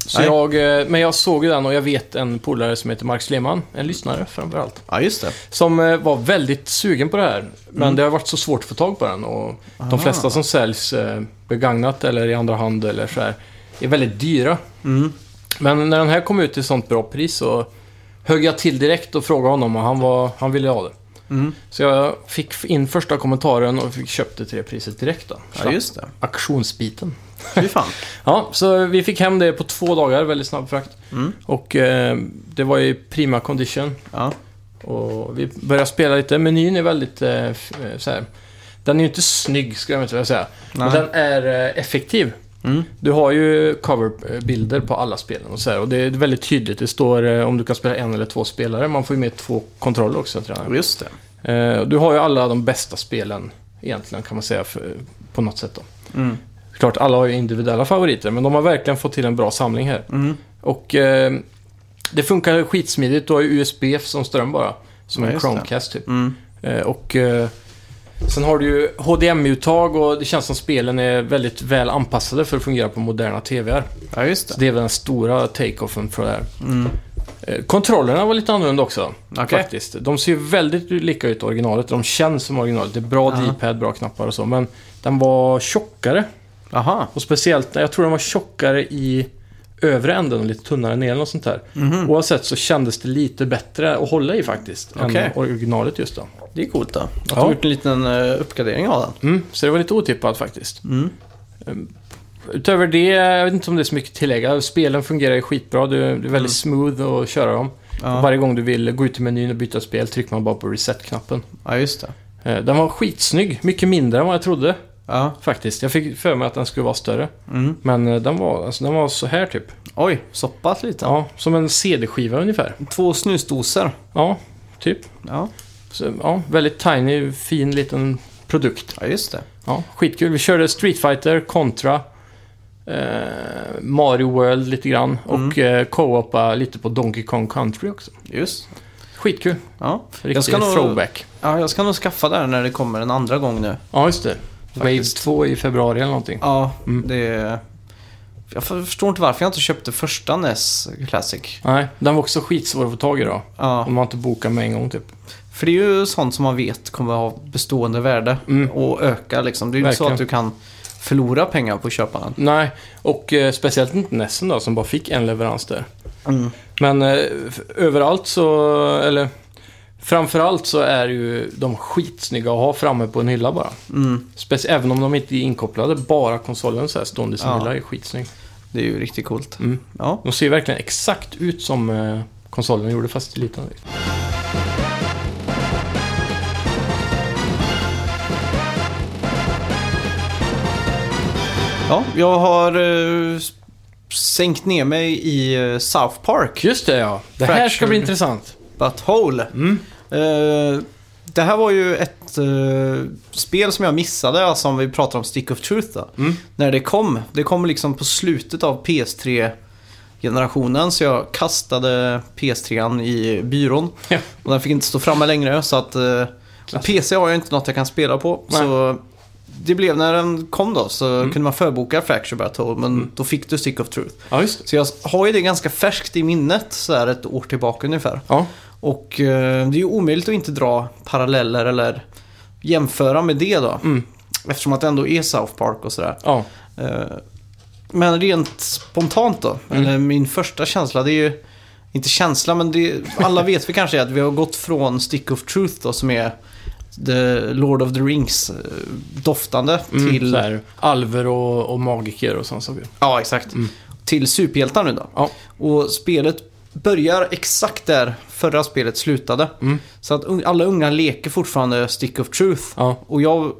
B: Så
A: Nej.
B: jag, eh, men jag såg ju den och jag vet en polare som heter Mark Sleman, en lyssnare framförallt,
A: Ja, just det.
B: som eh, var väldigt sugen på det här. Men
A: Mm.
B: det har varit så svårt att få tag på den och
A: Ah.
B: de flesta som säljs eh, begagnat eller i andra hand eller så här är väldigt dyra.
A: Mm.
B: Men när den här kom ut till sånt bra pris så högg jag till direkt och frågade honom och han, var, han ville ha det.
A: Mm.
B: Så jag fick in första kommentaren och fick köpte till det priset direkt då.
A: Ja, just det.
B: Auktionsbiten.
A: Fy fan.
B: Ja, så vi fick hem det på två dagar, väldigt snabb frakt.
A: Mm.
B: Och eh, det var i prima condition.
A: Ja.
B: Och vi började spela lite. Menyn är väldigt eh, f- eh, så här. Den är ju inte snygg, skulle jag inte vilja säga. Men
A: Nej.
B: den är eh, effektiv.
A: Mm.
B: Du har ju coverbilder på alla spelen och så här, Och det är väldigt tydligt. Det står eh, om du kan spela en eller två spelare. Man får ju med två kontroller också, tror jag.
A: Just det. Mm.
B: Eh, Du har ju alla de bästa spelen egentligen kan man säga för, på något sätt. Då.
A: Mm.
B: Klart, alla har ju individuella favoriter men de har verkligen fått till en bra samling här.
A: Mm.
B: Och eh, Det funkar skitsmidigt. Du har ju USB som ström bara. Som
A: Ja,
B: en
A: just det.
B: Chromecast typ.
A: Mm.
B: Eh, Och eh, sen har du ju HDMI-uttag och det känns som spelen är väldigt väl anpassade för att fungera på moderna TVR.
A: Ja, just det.
B: Så det är väl den stora take-offen för det här. Eh, Kontrollerna var lite annorlunda också.
A: Mm. Okej.
B: Faktiskt. De ser ju väldigt lika ut originalet. De känns som originalet. Det är bra
A: Ja.
B: D-pad, bra knappar och så. Men den var tjockare.
A: Aha.
B: Och speciellt, jag tror den var tjockare i övre änden och lite tunnare ner eller något sånt där. Oavsett så kändes det lite bättre att hålla i faktiskt.
A: Okej.
B: Än originalet just då.
A: Det är coolt då. Att de
B: Ja.
A: har gjort en liten eh, uppgradering av den.
B: Mm, så det var lite otippat faktiskt. Ehm, Utöver det, jag vet inte om det är så mycket att tillägga. Spelen fungerar ju skitbra. Det är det är väldigt smooth att köra dem. Och
A: Ja,
B: Varje gång du vill gå ut i menyn och byta spel trycker man bara på reset-knappen.
A: ja just det.
B: Eh, Den var skitsnygg. Mycket mindre än vad jag trodde
A: Ja.
B: faktiskt. Jag fick för mig att den skulle vara större.
A: Mm.
B: Men eh, den var, alltså, den var så här typ.
A: Oj, så pass liten.
B: Ja, som en CD-skiva ungefär.
A: Två snusdosor.
B: Ja, typ.
A: Ja.
B: Så, ja, väldigt tiny, fin liten produkt.
A: ja, just det.
B: Ja, skitkul. Vi körde Street Fighter, Contra, eh, Mario World lite grann och
A: Mm.
B: eh, co-opa lite på Donkey Kong Country också.
A: Just
B: Skitkul.
A: Ja, jag
B: Riktig
A: ska, nog,
B: throwback.
A: ja, jag ska nog skaffa det här när det kommer en andra gång nu.
B: Ja, just det. Wave
A: Faktiskt.
B: 2 i februari eller någonting.
A: Ja,
B: Mm.
A: det... Jag förstår inte varför jag inte köpte första NES Classic.
B: Nej, den var också skitsvår att få tag i då.
A: Ja,
B: Om man inte bokar med en gång typ.
A: för det är ju sånt som man vet kommer ha bestående värde
B: Mm.
A: och öka liksom. Det är ju inte så
B: Verkligen.
A: att du kan förlora pengar på att köpa den.
B: Nej, och eh, speciellt inte Nessen då som bara fick en leverans där. Men eh, f- överallt så, eller framförallt så är ju de skitsnygga att ha framme på en hylla bara.
A: Mm.
B: Spec- även om de inte är inkopplade, bara konsolen så här stående som
A: Ja.
B: hylla är skitsnygg.
A: Det är ju riktigt coolt.
B: Mm.
A: Ja.
B: De ser ju verkligen exakt ut som eh, konsolen gjorde fast liten.
A: ja, jag har eh, s- sänkt ner mig i eh, South Park.
B: Just det ja, det här ska bli
A: Fractured.
B: intressant.
A: Butthole.
B: Mm.
A: Eh, det här var ju ett eh, spel som jag missade, alltså om vi pratar om Stick of Truth då.
B: Mm.
A: När det kom. Det kom liksom på slutet av PS3-generationen, så jag kastade PS3 i byrån.
B: [laughs] Ja.
A: Och den fick inte stå framme längre, så att... eh, och PC har jag inte något jag kan spela på,
B: Nej. Mm.
A: så... Det blev när den kom då, så kunde man förboka Fracture Battle, men då fick du Stick of Truth.
B: Ja, just det.
A: Så jag har ju det ganska färskt i minnet, så här ett år tillbaka ungefär.
B: Ja,
A: Och eh, det är ju omöjligt att inte dra paralleller eller jämföra med det då.
B: Mm.
A: Eftersom att det ändå är South Park och sådär.
B: ja.
A: Eh, men rent spontant då,
B: Mm.
A: eller min första känsla, det är ju inte känsla, men det, alla vet vi kanske att vi har gått från Stick of Truth då som är The Lord of the Rings eh, doftande
B: Mm,
A: till...
B: så här, alver och, och magiker och sånt saker.
A: Ja, exakt.
B: Mm.
A: Till superhjältar nu då.
B: Ja.
A: Och spelet börjar exakt där förra spelet slutade.
B: Mm.
A: Så att un- alla unga leker fortfarande Stick of Truth.
B: Ja.
A: Och jag,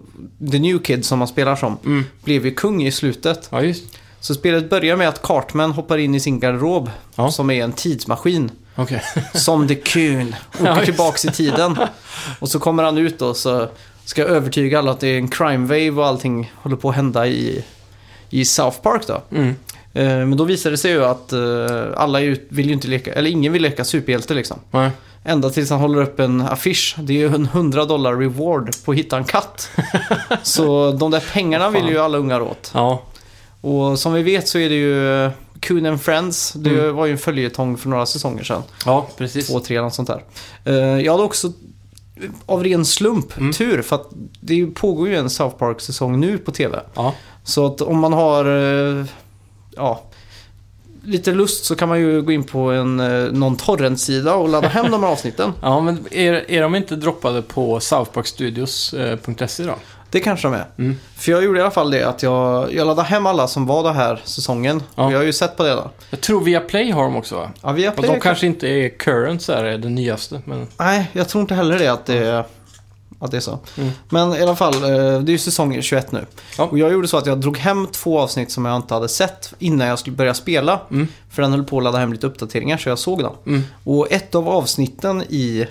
A: The New Kid som man spelar som,
B: Mm.
A: blev ju kung i slutet.
B: ja, just
A: Så spelet börjar med att Cartman hoppar in i sin garderob,
B: Ja.
A: som är en
B: [laughs]
A: tidsmaskin.
B: Okej.
A: Som The Coon,
B: Ja,
A: åker
B: just.
A: tillbaks i tiden. Och så kommer han ut och så ska jag övertyga alla att det är en crime wave och allting håller på att hända i, i South Park då.
B: Mm.
A: Eh, Men då visade det sig ju att eh, alla är ju- vill ju inte leka, eller ingen vill leka superhjälte liksom.
B: Nej.
A: Ända tills han håller upp en affisch. Det är ju en 100 dollar reward på att hitta en katt. så de där pengarna vill ju alla ungar åt.
B: Ja,
A: Och som vi vet så är det ju eh, Coon and Friends. Det var ju en följetong för några säsonger sedan.
B: ja precis.
A: Två, tre eller något sånt där. Eh, Jag hade också eh, av ren slump tur för att det är ju- pågår ju en South Park-säsong nu på TV.
B: Ja.
A: Så att om man har eh, ja, lite lust så kan man ju gå in på en, eh, någon torrentsida och ladda hem de här avsnitten.
B: Ja, men är, är de inte droppade på eh, southparkstudios.se E då?
A: Det kanske de är.
B: Mm.
A: För jag gjorde i alla fall det att jag, jag laddade hem alla som var den här säsongen.
B: Ja.
A: Och jag har ju sett på det då.
B: Jag tror Viaplay har dem också va?
A: Ja, via
B: Och
A: Play,
B: de kanske inte är current så här, är den nyaste, men...
A: Nej, jag tror inte heller det att det är, att det är så.
B: Mm.
A: Men i alla fall, eh, det är ju säsong 21 nu.
B: Ja.
A: Och jag gjorde så att jag drog hem två avsnitt som jag inte hade sett innan jag skulle börja spela.
B: Mm.
A: För den höll på att ladda hem lite uppdateringar så jag såg dem.
B: Mm.
A: Och ett av avsnitten i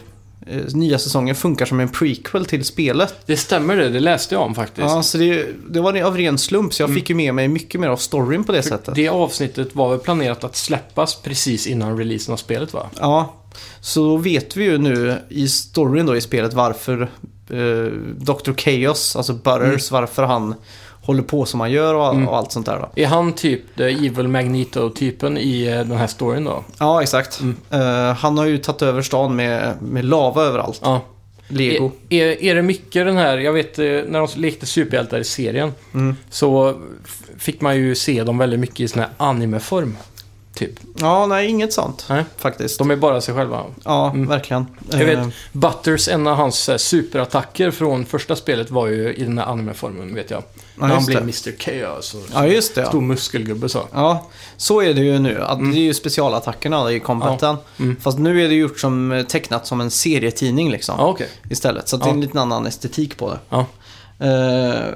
A: eh, nya säsongen funkar som en prequel till spelet.
B: Det stämmer det, det läste jag om faktiskt.
A: Ja, så det, det var av ren slump, så jag
B: Mm.
A: fick ju med mig mycket mer av storyn på det sättet.
B: Det avsnittet var väl planerat att släppas precis innan releasen av spelet va?
A: Ja, så då vet vi ju nu i storyn då i spelet varför eh, Dr. Chaos, alltså Butters,
B: Mm.
A: varför han håller på som han gör och, och allt sånt där då.
B: Är han typ the Evil Magneto-typen i eh, den här storyn då?
A: Ja, exakt. Eh, han har ju tagit över stan med, med lava överallt.
B: Ja.
A: Lego.
B: Är, är, är det mycket den här, jag vet eh, när de lekte superhjältar i serien
A: Mm.
B: så f- fick man ju se dem väldigt mycket i sån här animeform. Typ.
A: Ja, nej, inget sånt
B: Nej.
A: faktiskt.
B: De är bara sig själva.
A: Ja,
B: Mm.
A: verkligen.
B: Jag vet,
A: Eh,
B: Butters, en av hans eh, superattacker från första spelet var ju i den här animeformen vet jag. när han
A: just
B: blev
A: det.
B: Mr. Chaos och
A: Ja, just det.
B: stor
A: Ja.
B: muskelgubbe så.
A: ja, så är det ju nu. Att Det är ju specialattackerna i combaten.
B: Mm.
A: Fast nu är det gjort som eh, tecknat som en serietidning liksom.
B: Ja, okej.
A: istället. Så att det är en
B: Ja.
A: liten annan estetik på det.
B: Ja.
A: Eh,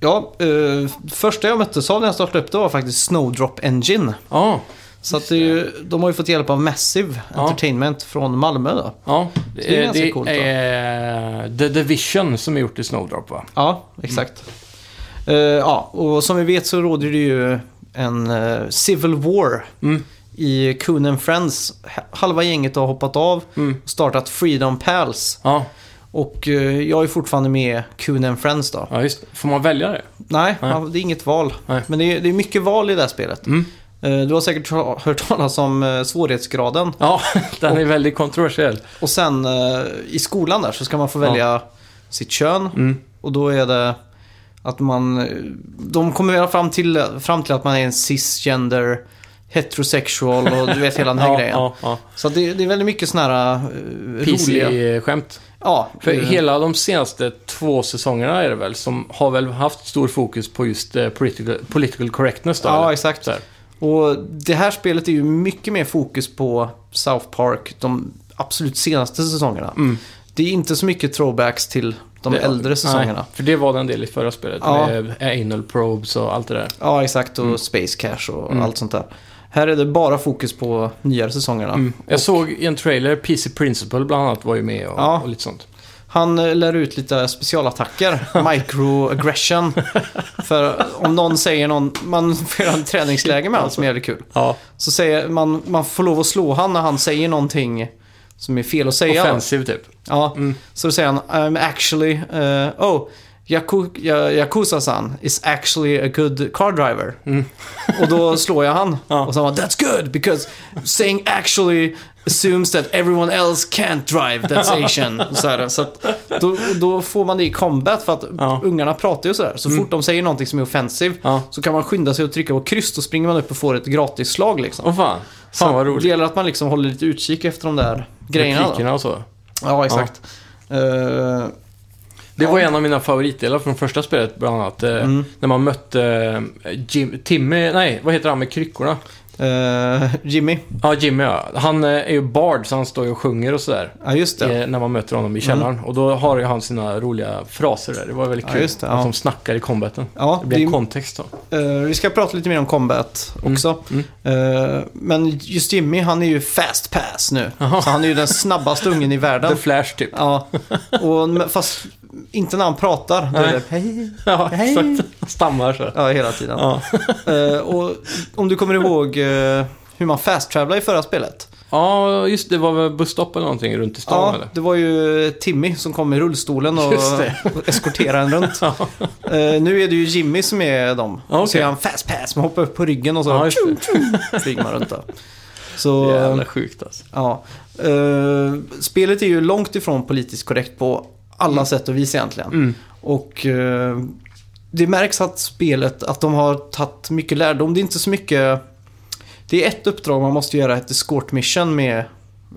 A: ja, eh, första jag möttes av när jag startade upp det var faktiskt Snowdrop Engine.
B: Ja,
A: Så att det är ju, de har ju fått hjälp av Massive
B: Ja.
A: Entertainment från Malmö då.
B: ja.
A: Det är
B: Eh,
A: ganska coolt, va?
B: är eh, The Division som är gjort i Snowdrop va?
A: Ja, exakt. Eh, ja, och som vi vet så råder det ju en eh, Civil War
B: Mm.
A: i Coon and Friends. H- Halva gänget har hoppat av
B: Mm.
A: och startat Freedom Pals.
B: Ja,
A: Och eh, jag är fortfarande med Coon and Friends då.
B: ja just Får man välja det?
A: Nej,
B: Nej.
A: ja, det är inget val.
B: Nej.
A: Men det är, det är mycket val i det här spelet.
B: Mm.
A: Eh, Du har säkert ta- hört talas om eh, svårighetsgraden.
B: Ja, [laughs] den är väldigt kontroversiell.
A: Och sen eh, i skolan där så ska man få välja sitt kön.
B: Mm.
A: Och då är det att man... eh, De kommer göra fram till, fram till att man är en cisgender, heterosexual och du vet hela den här
B: [laughs] Ja,
A: grejen.
B: ja, ja.
A: Så att det, det är väldigt mycket sådana här eh, roliga...
B: PC-skämt.
A: Ja,
B: För
A: eh,
B: hela de senaste två säsongerna är det väl, som har väl haft stor fokus på just eh, political, political correctness då?
A: Ja,
B: eller?
A: exakt.
B: Så här.
A: Och det här spelet är ju mycket mer fokus på South Park de absolut senaste säsongerna.
B: Mm.
A: Det är inte så mycket throwbacks till de
B: Det-
A: äldre säsongerna.
B: Nej, för det var den del i förra spelet
A: Ja.
B: med eh, anal probes och allt det där.
A: Ja, exakt.
B: Mm.
A: Och Space Cash och allt sånt där. Här är det bara fokus på nyare säsongerna.
B: Jag såg i en trailer, PC Principle bland annat var ju med och,
A: Ja.
B: och lite sånt.
A: Han eh, lär ut lite
B: [laughs]
A: specialattacker, microaggression. För om någon säger någon, man får göra en träningsläge med honom som är jävligt kul.
B: Ja,
A: Så säger man, man får lov att slå han när han säger någonting som är fel att säga.
B: offensiv typ.
A: Ja, så då säger han I'm actually, eh, oh, Yaku- Ya- Yakuza-san is actually a good car driver. [laughs] Och då slår jag han.
B: Mm. Ja.
A: Och så han bara, That's good because saying actually assumes that everyone else can't drive, that's Asian.
B: [laughs]
A: Och Så, här, så att då, då får man det i combat för att
B: Ja. Mm.
A: ungarna pratar ju sådär. Så fort de säger någonting som är offensivt
B: Ja.
A: så kan man skynda sig och trycka på kryss. Då springer man upp och får ett gratis slag liksom.
B: Åh fan, fan vad
A: Det
B: roligt.
A: gäller att man liksom håller lite utkik efter de där grejerna. alltså. då.
B: Replikerna och så.
A: Ja, exakt. Eh,
B: Det var en av mina favoritdelar från första spelet bland annat. eh,
A: Mm.
B: När man mötte eh, Jim, Timmy, nej vad heter han med kryckorna?
A: eh, Jimmy.
B: Ja, Jimmy ja. Han eh, är ju bard så han står ju och sjunger och sådär.
A: Ja, just det. Mm.
B: eh, När man möter honom i källaren. Och då har ju han sina roliga fraser där. Det var väldigt
A: Ja,
B: kul.
A: just det, ja.
B: Att de snackar i combaten.
A: Ja,
B: det blir
A: det-
B: en kontext då.
A: Eh, vi ska prata lite mer om combat också. Eh, men just Jimmy, han är ju fast pass nu. Så han är ju den snabbaste ungen i
B: The
A: [laughs] världen.
B: Flash typ. [laughs]
A: Ja, och, men- fast inte när han pratar. Då är
B: Nej.
A: det hej,
B: Ja,
A: Hej.
B: exakt. Han Stammar så.
A: ja, hela tiden.
B: Ja.
A: Eh, och om du kommer ihåg eh, hur man fast travelade i förra spelet.
B: ja, just det. var väl busstopp eller någonting runt i stan
A: ja,
B: eller?
A: det var ju Timmy som kom i rullstolen och,
B: Just det.
A: och eskorterade en runt. Eh, nu är det ju Jimmy som är dem.
B: Ja,
A: Och Så
B: okej.
A: är han fast pass, man hoppar upp på ryggen och så
B: Ja, just
A: tju,
B: det.
A: tju, flyger man runt då. Så,
B: Jävla sjukt alltså.
A: ja. Eh, spelet är ju långt ifrån politiskt korrekt på alla
B: Mm.
A: sätt och vis egentligen. Och eh, det märks att spelet, att de har tagit mycket lärdom. Det är inte så mycket... Det är ett uppdrag man måste göra, ett escort mission med,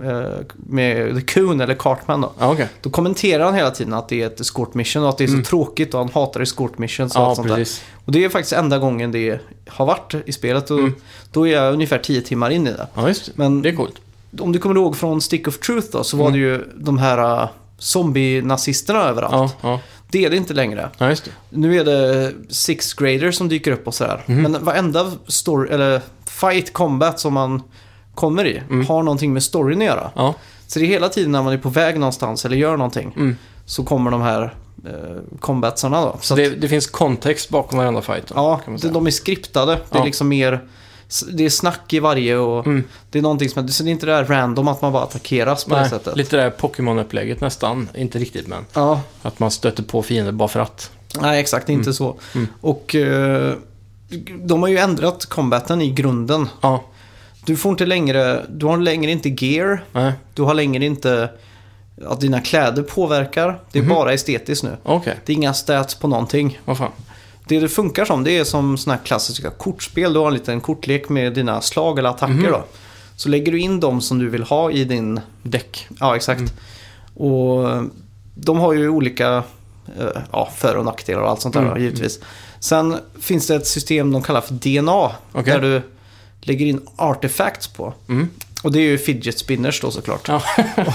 A: eh, med The Coon eller Cartman då.
B: Ja, okej.
A: Då kommenterar han hela tiden att det är ett escort mission och att det är så tråkigt och han hatar escort missions och
B: Mm. Ja,
A: allt sånt där.
B: precis.
A: Och det är faktiskt enda gången det har varit i spelet och
B: Mm.
A: då är jag ungefär 10 timmar in i det.
B: Ja, just det.
A: Men
B: Det är coolt.
A: om du kommer ihåg från Stick of Truth då så var
B: Mm.
A: det ju de här äh, zombie-nazisterna överallt.
B: Ja, ja.
A: Det är det inte längre.
B: ja, just det.
A: Nu är det sixth grader som dyker upp och sådär.
B: Mm.
A: Men varenda
B: Mm.
A: story, eller fight combat som man kommer i har någonting med storyn att göra.
B: Ja,
A: Så det är hela tiden när man är på väg någonstans eller gör någonting
B: Mm.
A: så kommer de här eh, combatsarna då. Så
B: Så
A: att,
B: det, det finns kontext bakom varenda fight. Då,
A: ja,
B: kan man
A: de,
B: säga.
A: de är skriptade. Det
B: Ja.
A: är liksom mer, s- det är snack i varje och
B: Mm.
A: det är någonting som, så det är inte det där random att man bara attackeras på det
B: Nej,
A: sättet.
B: lite det här Pokémon-upplägget nästan. Inte riktigt, men
A: Ja,
B: att man stöter på fiender bara för att.
A: nej exakt, inte så.
B: Mm.
A: Och eh, de har ju ändrat combaten i grunden.
B: Ja,
A: Du får inte längre, du har längre inte gear.
B: nej,
A: Du har längre inte att dina kläder påverkar. Det är
B: Mhm.
A: bara estetiskt nu.
B: okej.
A: Det är inga stats på någonting.
B: Vad fan.
A: Det det funkar som det är som sådana här klassiska kortspel. Du har en liten kortlek med dina slag eller attacker
B: Mhm.
A: då. Så lägger du in dem som du vill ha i din...
B: Däck.
A: Ja, exakt.
B: Mm.
A: Och eh, de har ju olika eh, ja, för och nackdelar och allt sånt där
B: Mm.
A: då, givetvis. Sen finns det ett system de kallar för DNA.
B: Okej.
A: Där du lägger in artefacts på.
B: Mm.
A: Och det är ju fidget spinners då såklart. [laughs]
B: Ja.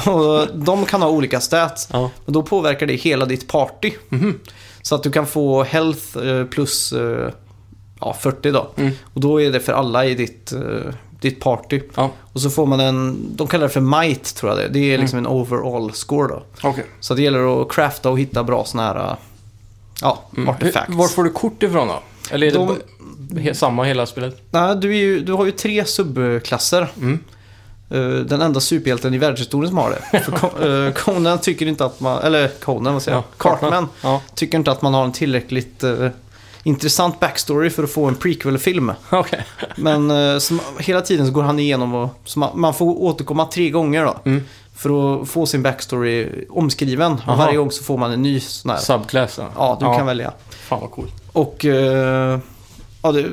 A: Och de kan ha olika stats.
B: [laughs] ja.
A: Men då påverkar det hela ditt party.
B: Mm-hmm.
A: Så att du kan få health eh, plus eh, ja, 40 då.
B: Mm.
A: Och då är det för alla i ditt, eh, ditt party.
B: Ja,
A: Och så får man en, de kallar det för might tror jag det är. Det
B: Mm.
A: är liksom en overall score då.
B: okej.
A: Så det gäller att crafta och hitta bra såna här, eh, ja,
B: Mm.
A: artefacts.
B: Hur- Var får du kort ifrån då? Eller är det
A: De-
B: bara- he- samma hela spelet?
A: Nej, du, är ju, du har ju tre subklasser.
B: Mm.
A: Eh, den enda superhjälten i världshistorien som har det. För Con-
B: [laughs]
A: eh, Conan tycker inte att man, eller Conan vad säger jag?
B: Ja, Cartman.
A: Cartman.
B: Ja, [laughs]
A: tycker inte att man har en tillräckligt eh, intressant backstory för att få en prequel-film.
B: okej.
A: Men eh, som, hela tiden så går han igenom och så man, man får återkomma tre gånger då.
B: Mm.
A: För att få sin backstory omskriven.
B: Aha.
A: Och varje gång så får man en ny sån här.
B: Subclass.
A: Ja, du kan välja.
B: Fan vad coolt.
A: Och eh, ja, det,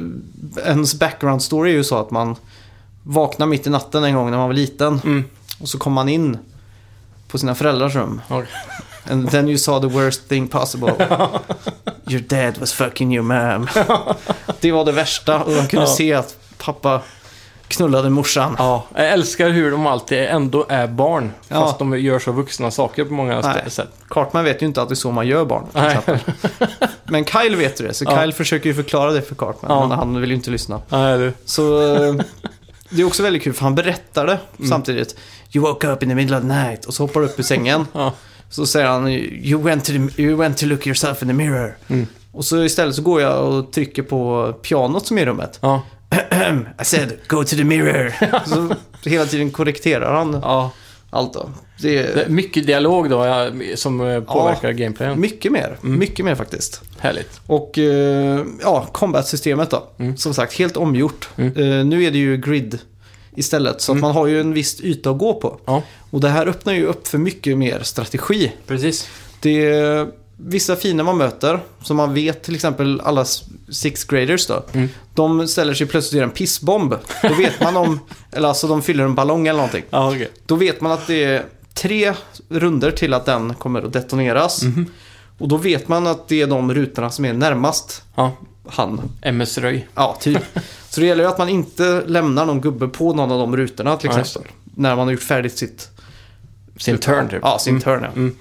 A: ens background story är ju så att man vaknar mitt i natten en gång när man var liten.
B: Mm.
A: Och så kom man in på sina föräldrars rum.
B: okej.
A: And then you saw the worst thing
B: [laughs]
A: possible. Your dad was fucking your mom. Det var det värsta och de kunde
B: Ja.
A: se att pappa knullade morsan.
B: Ja, jag älskar hur de alltid ändå är barn.
A: Ja.
B: Fast de gör så vuxna saker på många
A: Nej.
B: sätt.
A: Cartman vet ju inte att det är så man gör barn. till
B: Nej.
A: exempel. Men Kyle vet ju det, så
B: Ja.
A: Kyle försöker ju förklara det för Cartman.
B: Ja.
A: Men han vill ju inte lyssna.
B: Nej, du.
A: Så eh, det är också väldigt kul för han berättar det
B: Mm.
A: samtidigt. You woke up in the middle of the night och så hoppar du upp ur sängen.
B: [laughs] Ja.
A: Så säger han you went, to the, you went to look yourself in the mirror.
B: Mm.
A: Och så istället så går jag och trycker på pianot som är i rummet.
B: Ja.
A: I said go to the
B: [laughs]
A: mirror. så hela tiden korrekterar han
B: ja.
A: allt då. Det
B: Det är
A: är
B: mycket dialog då ja, som eh, påverkar gameplayen.
A: mycket mer.
B: Mm.
A: Mycket mer faktiskt.
B: Härligt.
A: Och eh, ja, combat-systemet då.
B: Mm.
A: Som sagt, helt omgjort. Eh, nu är det ju grid istället.
B: Mm.
A: Så att man har ju en viss yta att gå på.
B: Ja,
A: Och det här öppnar ju upp för mycket mer strategi.
B: precis.
A: Det är vissa fiender man möter, som man vet till exempel alla s- sixth graders då.
B: Mm.
A: De ställer sig plötsligt och gör en pissbomb. Då vet man
B: [laughs]
A: om, eller alltså de fyller en ballong eller någonting.
B: Ja, okej.
A: Då vet man att det är tre runder till att den kommer att detoneras.
B: Mhm.
A: Och då vet man att det är de rutorna som är närmast
B: Ja,
A: han.
B: MS Röj.
A: Ja,
B: [laughs]
A: typ. Så det gäller ju att man inte lämnar någon gubbe på någon av de rutorna till
B: Ja,
A: exempel. när man har gjort färdigt sitt...
B: Sin turn typ.
A: Ja, sin turn ja.
B: Mm.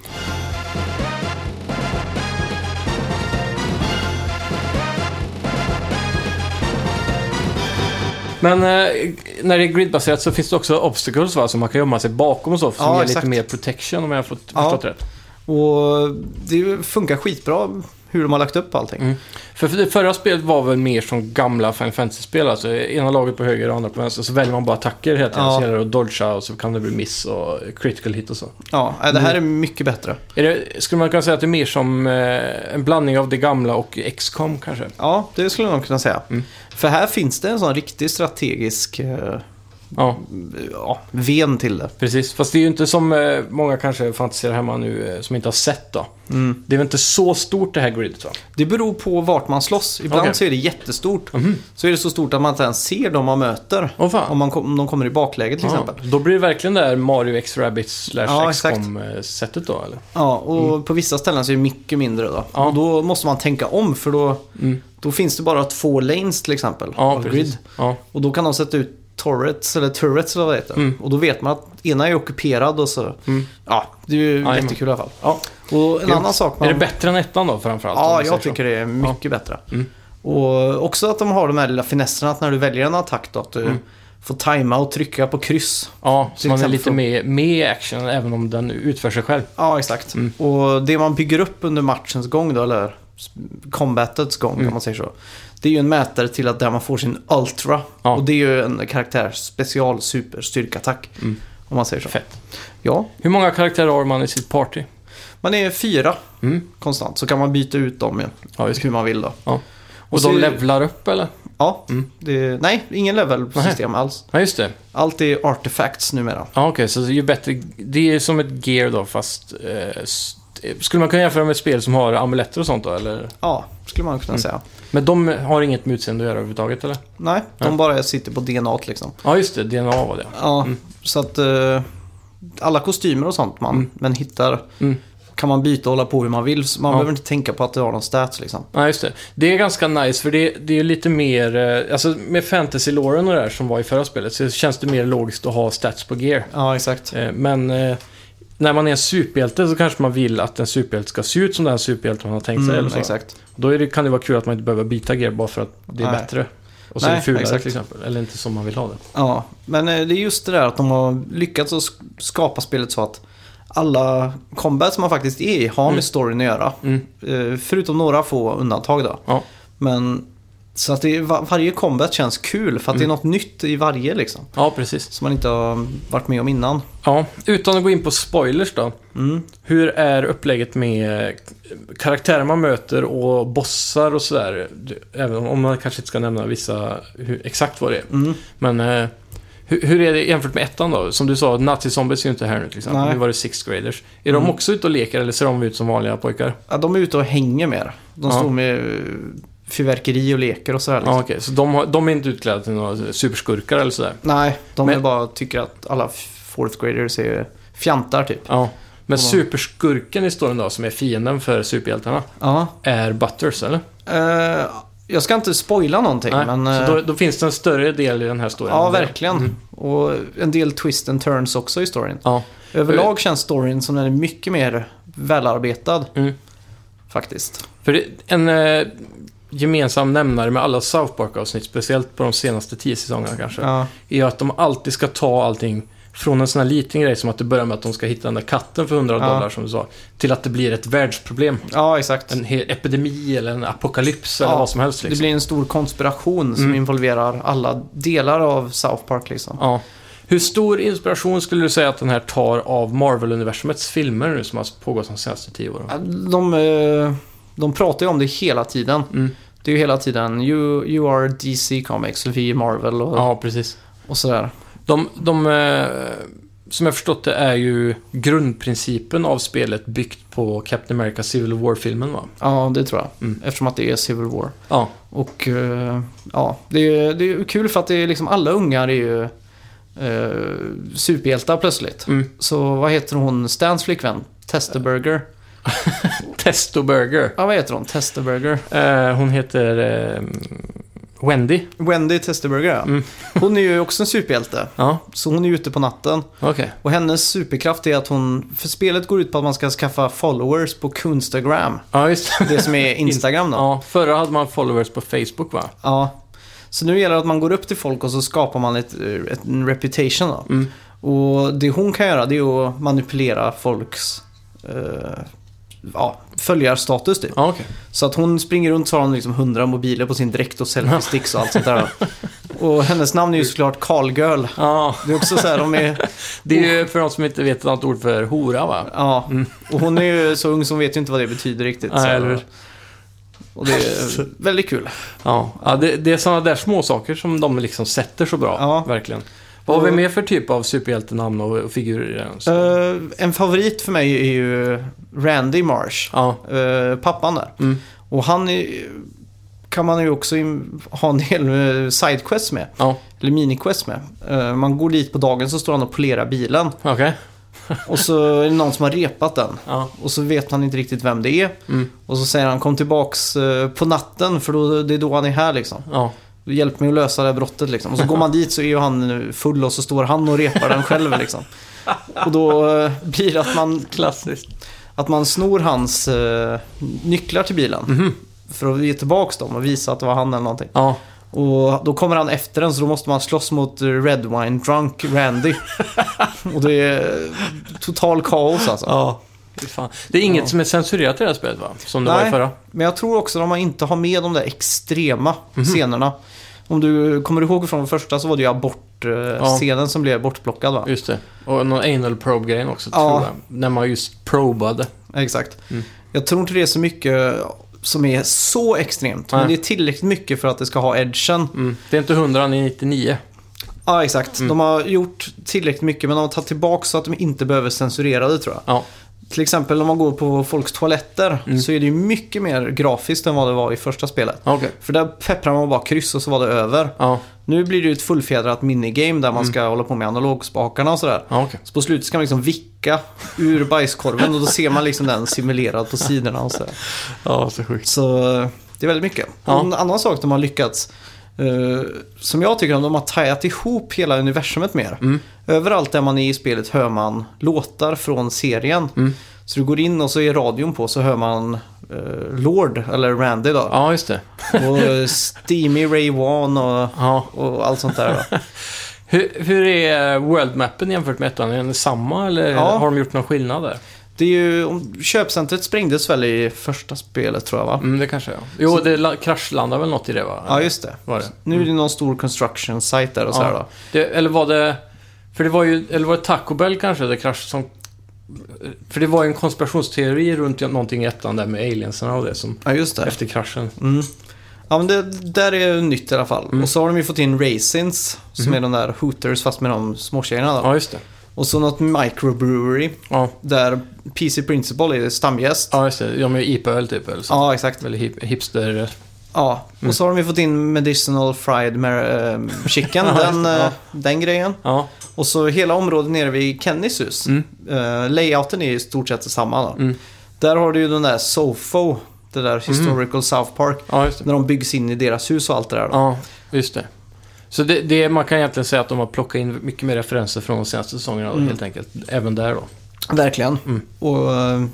B: Men eh, när det är gridbaserat så finns det också obstacles va, som man kan gömma sig bakom och så, som
A: Ja,
B: ger
A: exakt.
B: lite mer protection om jag har fått,
A: Ja.
B: förstått rätt.
A: Och det funkar skitbra hur de har lagt upp allting.
B: Mm. För, för det förra spelet var väl mer som gamla Final Fantasy-spel, alltså ena laget på höger och andra på vänster, så väljer man bara attacker hela tiden,
A: Ja.
B: så gäller det att dodga och så kan det bli miss och critical hit och så.
A: Ja, nej, det
B: Mm.
A: här är mycket bättre.
B: Är det, skulle man kunna säga att det är mer som eh, en blandning av det gamla och XCOM kanske?
A: Ja, det skulle man kunna säga.
B: Mm.
A: För här finns det en sån riktig strategisk eh,
B: Ja,
A: ja, ven till det.
B: precis. Fast det är ju inte som eh, många kanske fantiserar hemma nu, eh, som inte har sett då.
A: Mm.
B: Det är väl inte så stort det här gridet va?
A: Det beror på vart man slåss. Ibland
B: Okej. Mhm.
A: så är det jättestort. Så är det så stort att man inte ens ser dem man möter.
B: Åh fan.
A: Om, man kom, om de kommer i bakläge till
B: Ja,
A: exempel.
B: Då blir det verkligen det här Mario X Rabbids slash
A: Ja, exakt.
B: XCOM-sättet då eller?
A: Ja, och på vissa ställen så är det mycket mindre då.
B: Mm. Ja. Mm.
A: Och då måste man tänka om för då, då finns det bara två lanes till exempel.
B: Ja,
A: av
B: precis.
A: grid.
B: Ja,
A: Och då kan de sätta ut turrets eller turrets eller vad det heter.
B: Mm.
A: Och då vet man att ena är ockuperad och så... Ja, det är ju
B: Jajamän.
A: jättekul i alla fall.
B: ja.
A: Och en
B: Grymt.
A: annan sak man...
B: Är det bättre än ettan då framförallt? om
A: Ja,
B: vi säger
A: jag
B: så? Mm.
A: tycker det är
B: Mm.
A: mycket bättre. Och också att de har de här lilla finesserna att när du väljer en attack då, att du få tajma och trycka på kryss.
B: Ja, så
A: Till
B: man är
A: exempel
B: lite
A: från-
B: med, med i action även om den utför sig själv.
A: Ja, exakt.
B: Mm.
A: Och det man bygger upp under matchens gång då, eller s- combatets gång
B: Mm.
A: om man säger så. Det är ju en mätare till att där man får sin Ultra.
B: Ja.
A: Och det är ju en karaktär special super styrkattack. Om man säger så.
B: Mm. Fett.
A: Ja,
B: Hur många karaktärer har man i sitt party?
A: man är fyra
B: Mm.
A: konstant. Så kan man byta ut dem ju.
B: Ja, just det.
A: hur man vill då.
B: Ja. Och,
A: så-
B: de levlar upp eller?
A: Ja,
B: Mm.
A: det, nej, ingen level-system alls.
B: Ja, just det.
A: Allt är artifacts numera.
B: Ja, okej, så ju bättre... Det är ju som ett gear då, fast... Eh, s- eh, skulle man kunna jämföra med ett spel som har amuletter och sånt då, eller?
A: Ja, skulle man kunna
B: Mm.
A: säga.
B: Men de har inget med utseende att göra överhuvudtaget, eller?
A: Nej, de bara sitter på DNA liksom.
B: Ja, just det. DNA var det.
A: Ja, så att eh, alla kostymer och sånt man, men hittar
B: Mm.
A: kan man byta och hålla på hur man vill. Så man
B: Ja.
A: behöver inte tänka på att det har någon stats liksom.
B: Ja, just det. Det är ganska nice, för det, det är lite mer... eh, Alltså, med fantasy-loren och det där som var i förra spelet så känns det mer logiskt att ha stats på gear.
A: Ja, exakt.
B: Eh, Men eh, när man är en superhjälte så kanske man vill att en superhjälte ska se ut som den superhjälten man har tänkt sig.
A: Mm,
B: eller så.
A: exakt.
B: Då är det, kan det vara kul att man inte behöver byta gear bara för att det är
A: Nej.
B: bättre. Och så är
A: Nej,
B: det fulare
A: exakt.
B: till exempel. Eller inte som man vill ha det.
A: Ja, men eh, det är just det där att de har lyckats att sk- skapa spelet så att alla combat som man faktiskt är i har med storyn att göra.
B: Mm.
A: Eh, Förutom några få undantag då.
B: Ja.
A: Men så att det, är- va- varje combat känns kul för att
B: Mm.
A: det är något nytt i varje liksom.
B: ja, precis.
A: Som man inte har varit med om innan.
B: Ja, utan att gå in på spoilers då.
A: Mm.
B: Hur är upplägget med eh, karaktärer man möter och bossar och sådär? Du- Även om man kanske inte ska nämna vissa, hur, exakt vad det är.
A: Mm.
B: Men eh, hur, hur är det jämfört med ettan då? Som du sa, nazi-zombies är ju inte här nu till exempel.
A: Nej. Mm.
B: Nu var det sixth graders. Är de också ute och leker eller ser de ut som vanliga pojkar?
A: Ja, de är ute och hänger mer. De
B: Ja.
A: står med eh, fyrverkeri och leker och sådär. Liksom.
B: Ja, okej. Så de, har, de är inte utklädda till några superskurkar eller sådär?
A: Nej, de
B: Men-
A: är bara tycker att alla f- fourth graders är fjantar typ.
B: Ja.
A: Ja.
B: Men superskurken i storyn då, som är fienden för superhjältarna,
A: Ja.
B: är Butters, eller?
A: Eh, jag ska inte spoila någonting, men... eh,
B: så då, då finns det Mm. en större del i den här storyn.
A: ja,
B: än det.
A: verkligen. Och en del twist and turns också i storyn.
B: Ja. Eh.
A: Överlag känns storyn som den är mycket mer välarbetad,
B: Mm.
A: faktiskt.
B: För det, en eh, gemensam nämnare med alla South Park-avsnitt, speciellt på de senaste tio säsongerna kanske,
A: Ja,
B: är ju att de alltid ska ta allting från en sån här liten grej som att det börjar med att de ska hitta den där katten för 100
A: Ja.
B: dollar som du sa, till att det blir ett världsproblem.
A: ja exakt.
B: En he- epidemi eller en apokalyps eller
A: Ja,
B: vad som helst
A: Det
B: liksom.
A: blir en stor konspiration
B: Mm.
A: som involverar alla delar av South Park liksom.
B: Ja. Hur stor inspiration skulle du säga att den här tar av Marvel-universumets filmer nu som har pågått de senaste tio åren?
A: Ja, De, eh, de pratar ju om det hela tiden.
B: Mm.
A: Det är ju hela tiden you, you are DC Comics, vi är Marvel och,
B: Ja, precis.
A: och sådär.
B: De, de eh, som jag förstått det är ju grundprincipen av spelet byggt på Captain America Civil War-filmen va?
A: Ja, det tror jag.
B: Mm.
A: Eftersom att det är Civil War.
B: Ja,
A: Och eh, ja, det är, det är kul för att det är liksom alla ungar är ju eh, superhjältar plötsligt.
B: mm.
A: Så vad heter hon, Stans flickvän? Testerburger.
B: Testo Burger.
A: Ja, vad heter hon? Testerburger.
B: Eh, hon heter eh, Wendy.
A: Wendy Testerburger, ja.
B: Mm.
A: Hon är ju också en superhjälte.
B: Ja,
A: Så hon är ute på natten.
B: okej.
A: Och hennes superkraft är att hon... För spelet går ut på att man ska skaffa followers på Kunstagram.
B: Ja, just det.
A: Det som är Instagram då.
B: Ja, förra hade man followers på Facebook va?
A: Ja. Så nu gäller det att man går upp till folk och så skapar man ett, ett, en reputation då.
B: Mm.
A: Och det hon kan göra det är att manipulera folks eh, ja, följarstatus typ.
B: Ja, okej.
A: Så att hon springer runt så har hon liksom 100 mobiler på sin dräkt och selfiesticks och allt sånt där. då. Och hennes namn är ju såklart Carl Girl.
B: Ja,
A: Det är också så här, de är...
B: det är ju för de som inte vet ett annat ord för hora va?
A: Ja, och hon är ju så ung så hon vet ju inte vad det betyder riktigt.
B: Mm. Nej,
A: så.
B: eller hur?
A: Och det
B: [laughs]
A: är väldigt kul.
B: Ja, ja det, det är sådana där små saker som de liksom sätter så bra.
A: Ja.
B: Verkligen. Vad har vi mer för typ av superhjältenamn och, och figurer i den?
A: Eh, en favorit för mig är ju Randy Marsh.
B: Ja,
A: eh, pappan där.
B: Mm.
A: Och han är, kan man ju också in, ha en del eh, sidequests med.
B: ja,
A: Eller miniquests med. Eh, man går dit på dagen så står han och polerar bilen.
B: okej.
A: Och så är det någon som har repat den.
B: Ja.
A: Och så vet han inte riktigt vem det är.
B: Mm.
A: Och så säger han kom tillbaks eh, på natten för då, det är då han är här liksom.
B: Ja.
A: Hjälp mig att lösa det här brottet liksom. Och så går man dit så är ju han full och så står han och repar den själv liksom. Och då eh, blir det att man
B: Klassiskt.
A: Att man snor hans
B: Mhm.
A: eh, nycklar till bilen. För att ge tillbaka dem och visa att det var han eller någonting.
B: Ja,
A: Och då kommer han efter den så då måste man slåss mot eh, Red Wine Drunk
B: [laughs]
A: Randy. och det är eh, total kaos alltså.
B: Ja. Fy fan. Det är inget som är censurerat i det här spelet va? Som det var i
A: Nej.
B: förra?
A: Men jag tror också att man inte har med de där extrema
B: Mhm.
A: scenerna. Om du kommer ihåg från första så var det ju
B: Ja. Mm.
A: abortscenen som blev bortplockad va?
B: Just det. Och någon anal probe-grejen också
A: Ja.
B: tror jag. När man just probade.
A: Exakt.
B: Mm.
A: Jag tror inte det är så mycket som är så extremt. Men
B: Nej.
A: det är tillräckligt mycket för att det ska ha edgen.
B: Mm. Det är inte 100, han är 99.
A: Ja, exakt. De har gjort tillräckligt mycket men de har tagit tillbaka så att de inte behöver censurera det tror jag.
B: Ja.
A: Till exempel om man går på folks toaletter så är det ju mycket mer grafiskt än vad det var i första spelet.
B: Okej.
A: För där pepprar man bara kryss och så var det över.
B: Ja,
A: Nu blir det ju ett fullfjädrat minigame där man ska hålla på med analogspakarna och sådär.
B: ja okej.
A: Så på slutet ska man liksom vicka ur bajskorven och då ser man liksom den simulerad på sidorna och sådär.
B: Ja, så sjukt.
A: Så eh, det är väldigt mycket.
B: Ja.
A: En annan sak de har lyckats, eh, som jag tycker om, de har tajat ihop hela universumet mer.
B: Mm.
A: Överallt där man är i spelet hör man låtar från serien.
B: Mm.
A: Så du går in och så är radion på så hör man eh, Lord, eller Randy då.
B: Ja, just det.
A: [laughs] Och eh, Steamy Ray Wan och,
B: Ja.
A: och allt sånt där. Va?
B: [laughs] Hur, hur är worldmappen jämfört med ettan? Är den samma eller
A: Ja.
B: har de gjort någon skillnad där?
A: Det är ju, om- köpcentret sprängdes väl i första spelet tror jag va?
B: Mm, det kanske är. Jo, det la- kraschlandar väl något i det va?
A: Ja just det.
B: Var det? Mm.
A: Nu är det någon stor construction site där och så här
B: Ja.
A: då.
B: Det, eller var det... För det var ju... Eller var det Taco Bell kanske? Det krasch som... För det var ju en konspirationsteori runt någonting i ettan där med aliensarna och det som...
A: Ja just det.
B: Efter kraschen.
A: Mm. Ja men det där är nytt i alla fall.
B: Mm.
A: Och så har de ju fått in Raisins som är de där Hooters fast med de småtjejerna då.
B: Ja, just det.
A: Och så något microbrewery
B: Ja,
A: där PC Principal är stamgäst. Ja,
B: ja just det. De är ju IPA-öl typ. Eller, så.
A: exakt.
B: eller hip, hipster...
A: Ja. Och så
B: Mm.
A: har de ju fått in Medicinal Fried Mar- ehm, Chicken,
B: [laughs] Ja, just
A: den,
B: det, ja.
A: eh, den grejen.
B: Ja,
A: Och så hela området nere vid Kennys hus. Eh, layouten är i stort sett detsamma. Då.
B: Mm.
A: Där har du ju den där SoFo, det där Historical South Park.
B: ja just det.
A: När de byggs in i deras hus och allt det där. Då.
B: Ja, just det. Så det, det, man kan egentligen säga att de har plockat in mycket mer referenser från de senaste säsongerna
A: Mm.
B: då, helt enkelt. Även där då.
A: Verkligen.
B: Mm.
A: Och eh,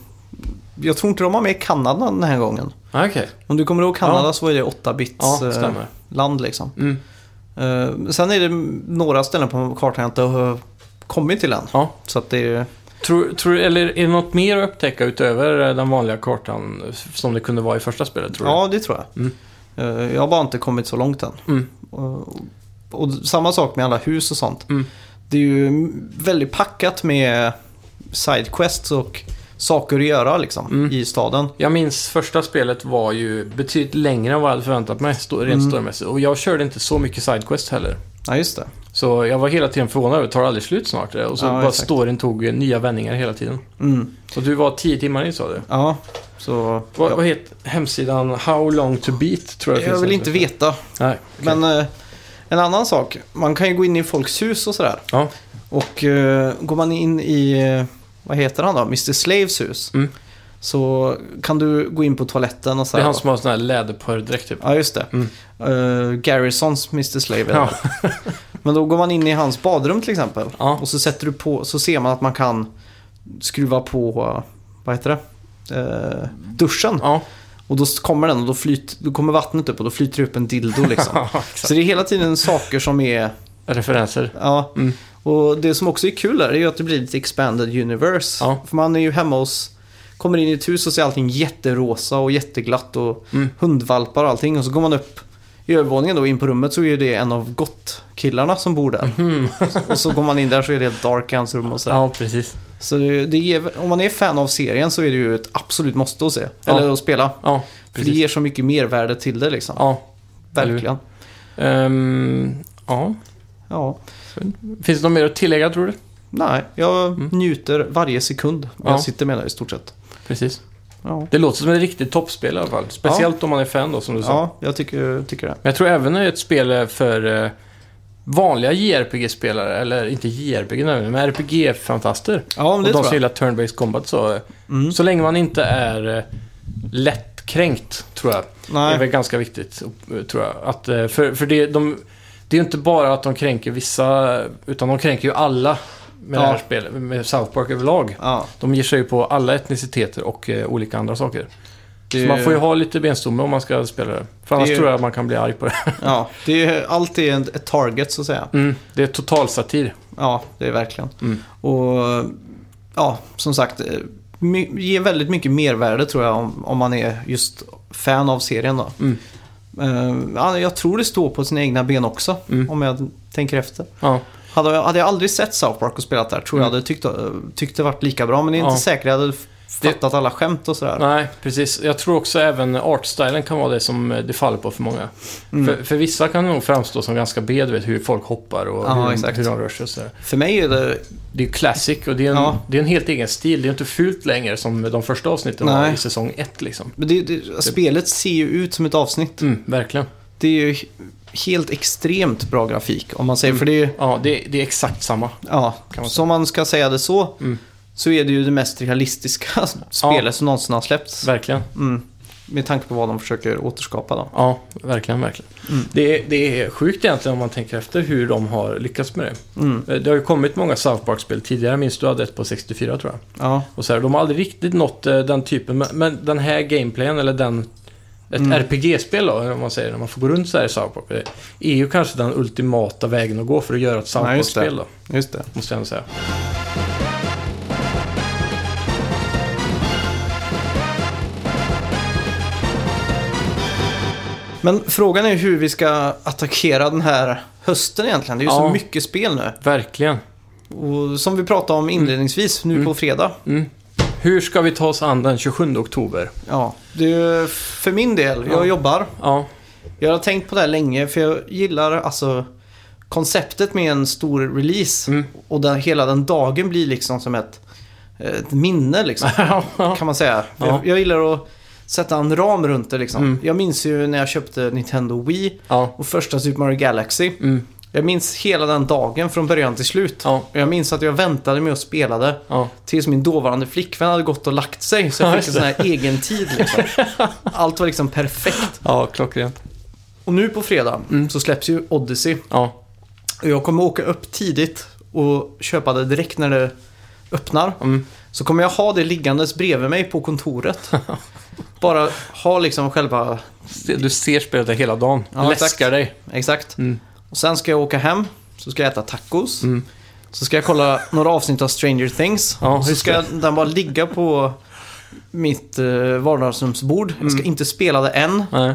A: jag tror inte de har med Kanada den här gången.
B: Ah, Okej.
A: Om du kommer ihåg Kanada så var det 8 bits
B: Ja,
A: eh,
B: stämmer.
A: land liksom.
B: Mm.
A: Eh, sen är det några ställen på kartan jag inte har eh, kommit till än.
B: Ja.
A: Så att det är...
B: Tror, tror, eller är det något mer att upptäcka utöver eh, den vanliga kartan eh, som det kunde vara i första spelet tror du?
A: Ja, det tror jag.
B: Mm.
A: Eh, jag har bara inte kommit så långt än.
B: Mm.
A: Och, och samma sak med alla hus och sånt.
B: Mm.
A: Det är ju väldigt packat med sidequests och saker att göra liksom
B: Mm.
A: i staden.
B: Jag minns första spelet var ju betydligt längre än vad jag hade förväntat mig, stå- rent
A: Mm.
B: storymässigt. Och jag körde inte så mycket sidequest heller.
A: Ja, just det.
B: Så jag var hela tiden förvånad över, tar det aldrig slut snart? eh? Och så
A: Ja,
B: bara
A: exakt.
B: storyn tog eh, nya vändningar hela tiden.
A: Mm.
B: Och du var tio timmar in sa du?
A: Ja, så...
B: Vad, vad heter hemsidan How long to beat tror jag
A: Jag
B: finns
A: vill
B: där.
A: inte veta.
B: Nej, men...
A: Men eh, en annan sak. Man kan ju gå in i folks hus och sådär.
B: Ja.
A: Och eh, går man in i, eh, vad heter han då, Mr Slaves hus.
B: Mm.
A: Så kan du gå in på toaletten och
B: Det är
A: sådär.
B: han som har sån här läderpörrdräkt typ.
A: Ja, just det.
B: Mm.
A: Eh, Garrisons Mr Slave. är det.
B: Ja.
A: [laughs] Men då går man in i hans badrum till exempel.
B: Ja.
A: Och så sätter du på, så ser man att man kan skruva på, eh, vad heter det? Eh, duschen.
B: Ja, [laughs]
A: Och då kommer den och då, flyt, då kommer vattnet upp och då flyter det upp en dildo
B: [laughs]
A: liksom. Så
B: exakt.
A: det är hela tiden saker som är...
B: Referenser.
A: Ja.
B: Mm.
A: Och det som också är kul där är ju att det blir lite expanded universe.
B: Ja.
A: För man är ju hemma hos... Kommer in i ett hus och ser allting jätterosa och jätteglatt och
B: Mm.
A: hundvalpar och allting. Och så går man upp i övervåningen då in på rummet så är det en av gott-killarna som bor där. och så går man in där så är det helt dark i hans rum och sådär.
B: Hmm. Mm. Ja, precis.
A: Så det, det ger, om man är fan av serien så är det ju ett absolut måste att se.
B: Ja.
A: Eller att spela.
B: Ja,
A: För det
B: precis.
A: ger så mycket mervärde till det liksom.
B: Ja.
A: Verkligen.
B: Ehm, ja.
A: Ja.
B: Finns det något mer att tillägga tror du?
A: Nej, jag njuter varje sekund
B: Mm. Ja.
A: jag sitter med det i stort sett.
B: Precis.
A: Ja,
B: Det låter som ett riktigt toppspel i alla fall. Speciellt om man är fan då, som du sa.
A: ja jag tycker, tycker det.
B: Men jag tror även det är ett spel för eh, vanliga JRPG-spelare, eller inte JRPG men RPG-fantaster.
A: Ja, men det
B: och de
A: tror
B: som
A: jag.
B: gillar turn-based combat så. eh,
A: Mm.
B: Så länge man inte är eh, lättkränkt, tror jag. Det är
A: Nej,
B: väl ganska viktigt, eh, tror jag. Att, eh, för för det, de, det är ju inte bara att de kränker vissa, utan de kränker ju alla med
A: Ja.
B: det här spelet, med South Park överlag.
A: ja,
B: De ger sig ju på alla etniciteter och eh, olika andra saker.
A: Det,
B: Så man får ju ha lite benstomme om man ska spela det. För annars
A: Det är-
B: tror jag man kan bli arg på det. [laughs]
A: ja, det är, allt är en- ett target så att säga.
B: Mm, det är totalsatir.
A: Ja, det är verkligen.
B: Mm.
A: Och ja, som sagt, eh, my- ger väldigt mycket mervärde tror jag om, om man är just fan av serien då.
B: Mm.
A: Eh, ja, jag tror det står på sina egna ben också,
B: Mm.
A: om jag tänker efter.
B: Ja.
A: Hade jag, hade jag aldrig sett South Park och spelat där tror jag
B: Mm.
A: hade tyckt, eh, tyckt det varit lika bra. Men det är inte
B: Ja.
A: säkert jag hade f- fattat alla skämt och sådär.
B: Nej, precis. Jag tror också även artstylen kan vara det som eh, det faller på för många.
A: Mm.
B: För, för vissa kan det nog framstå som ganska B, du vet hur folk hoppar och
A: Ja,
B: hur,
A: exakt.
B: hur de rör sig och sådär.
A: För mig är det...
B: Det är ju classic och det är, en,
A: Ja.
B: det är en helt egen stil. Det är ju inte fult längre som de första avsnitten var
A: Nej.
B: i säsong ett liksom.
A: men det, det, spelet ser ju ut som ett avsnitt.
B: Mm, verkligen.
A: Det är ju helt extremt bra grafik om man säger. För det är ju...
B: Ja, det, det är exakt samma.
A: Ja,
B: Mm. Kan man
A: så om man ska säga det så.
B: Mm.
A: Så är det ju det mest realistiska [laughs] spelet som någonsin har släppts.
B: Verkligen.
A: Mm. Med tanke på vad de försöker återskapa då.
B: Ja, verkligen, verkligen.
A: Mm.
B: Det, är- det är sjukt egentligen om man tänker efter hur de har lyckats med det.
A: Mm.
B: Eh, Det har ju kommit många South Park-spel tidigare. Minns du hade ett på 64 tror jag.
A: Ja,
B: Och så här, de har aldrig riktigt nått eh, den typen, men, men den här gameplayen eller den... Ett
A: Mm.
B: RPG-spel då, om man säger, när man får gå runt så här i South Park. Det är ju kanske den ultimata vägen att gå för att göra ett South
A: Ja, just det.
B: Park-spel då,
A: just det.
B: måste jag ändå säga.
A: Men frågan är hur vi ska attackera den här hösten egentligen. Det är ju så
B: Ja.
A: mycket spel nu.
B: Verkligen.
A: Och som vi pratade om inledningsvis nu på fredag.
B: Mm. Hur ska vi ta oss an den 27 oktober?
A: Ja, det är ju för min del. Jag
B: Ja.
A: jobbar.
B: [laughs] Ja,
A: Jag har tänkt på det här länge för jag gillar alltså konceptet med en stor release.
B: Mm.
A: Och den, hela den dagen blir liksom som ett, ett minne liksom. kan man säga.
B: Ja.
A: Jag, jag gillar att sätta en ram runt det liksom.
B: Mm.
A: Jag minns ju när jag köpte Nintendo Wii
B: ja,
A: och första Super Mario Galaxy.
B: mm.
A: Jag minns hela den dagen från början till slut.
B: ja,
A: Och Jag minns att jag väntade med att spela det
B: ja.
A: tills min dåvarande flickvän hade gått och lagt sig. Så jag
B: Ja,
A: fick en
B: just
A: sån här egen tid
B: [laughs]
A: liksom. Allt var liksom perfekt.
B: Ja, klockrent.
A: Och nu på fredag
B: Mm.
A: så släpps ju Odyssey.
B: Ja,
A: Och Jag kommer åka upp tidigt och köpa det direkt när det öppnar.
B: mm.
A: Så kommer jag ha det liggandes bredvid mig på
B: [laughs]
A: kontoret. Bara ha liksom själva...
B: Se- du ser spelet där hela dagen.
A: Ja,
B: Läskar
A: exakt.
B: dig.
A: Exakt.
B: Mm.
A: Och sen ska jag åka hem. Så ska jag äta tacos.
B: Mm.
A: Så ska jag kolla några avsnitt av Stranger Things.
B: Ja,
A: och så
B: just
A: ska jag, den bara ligga på mitt eh, vardagsrumsbord. Jag ska inte spela det än.
B: Nej.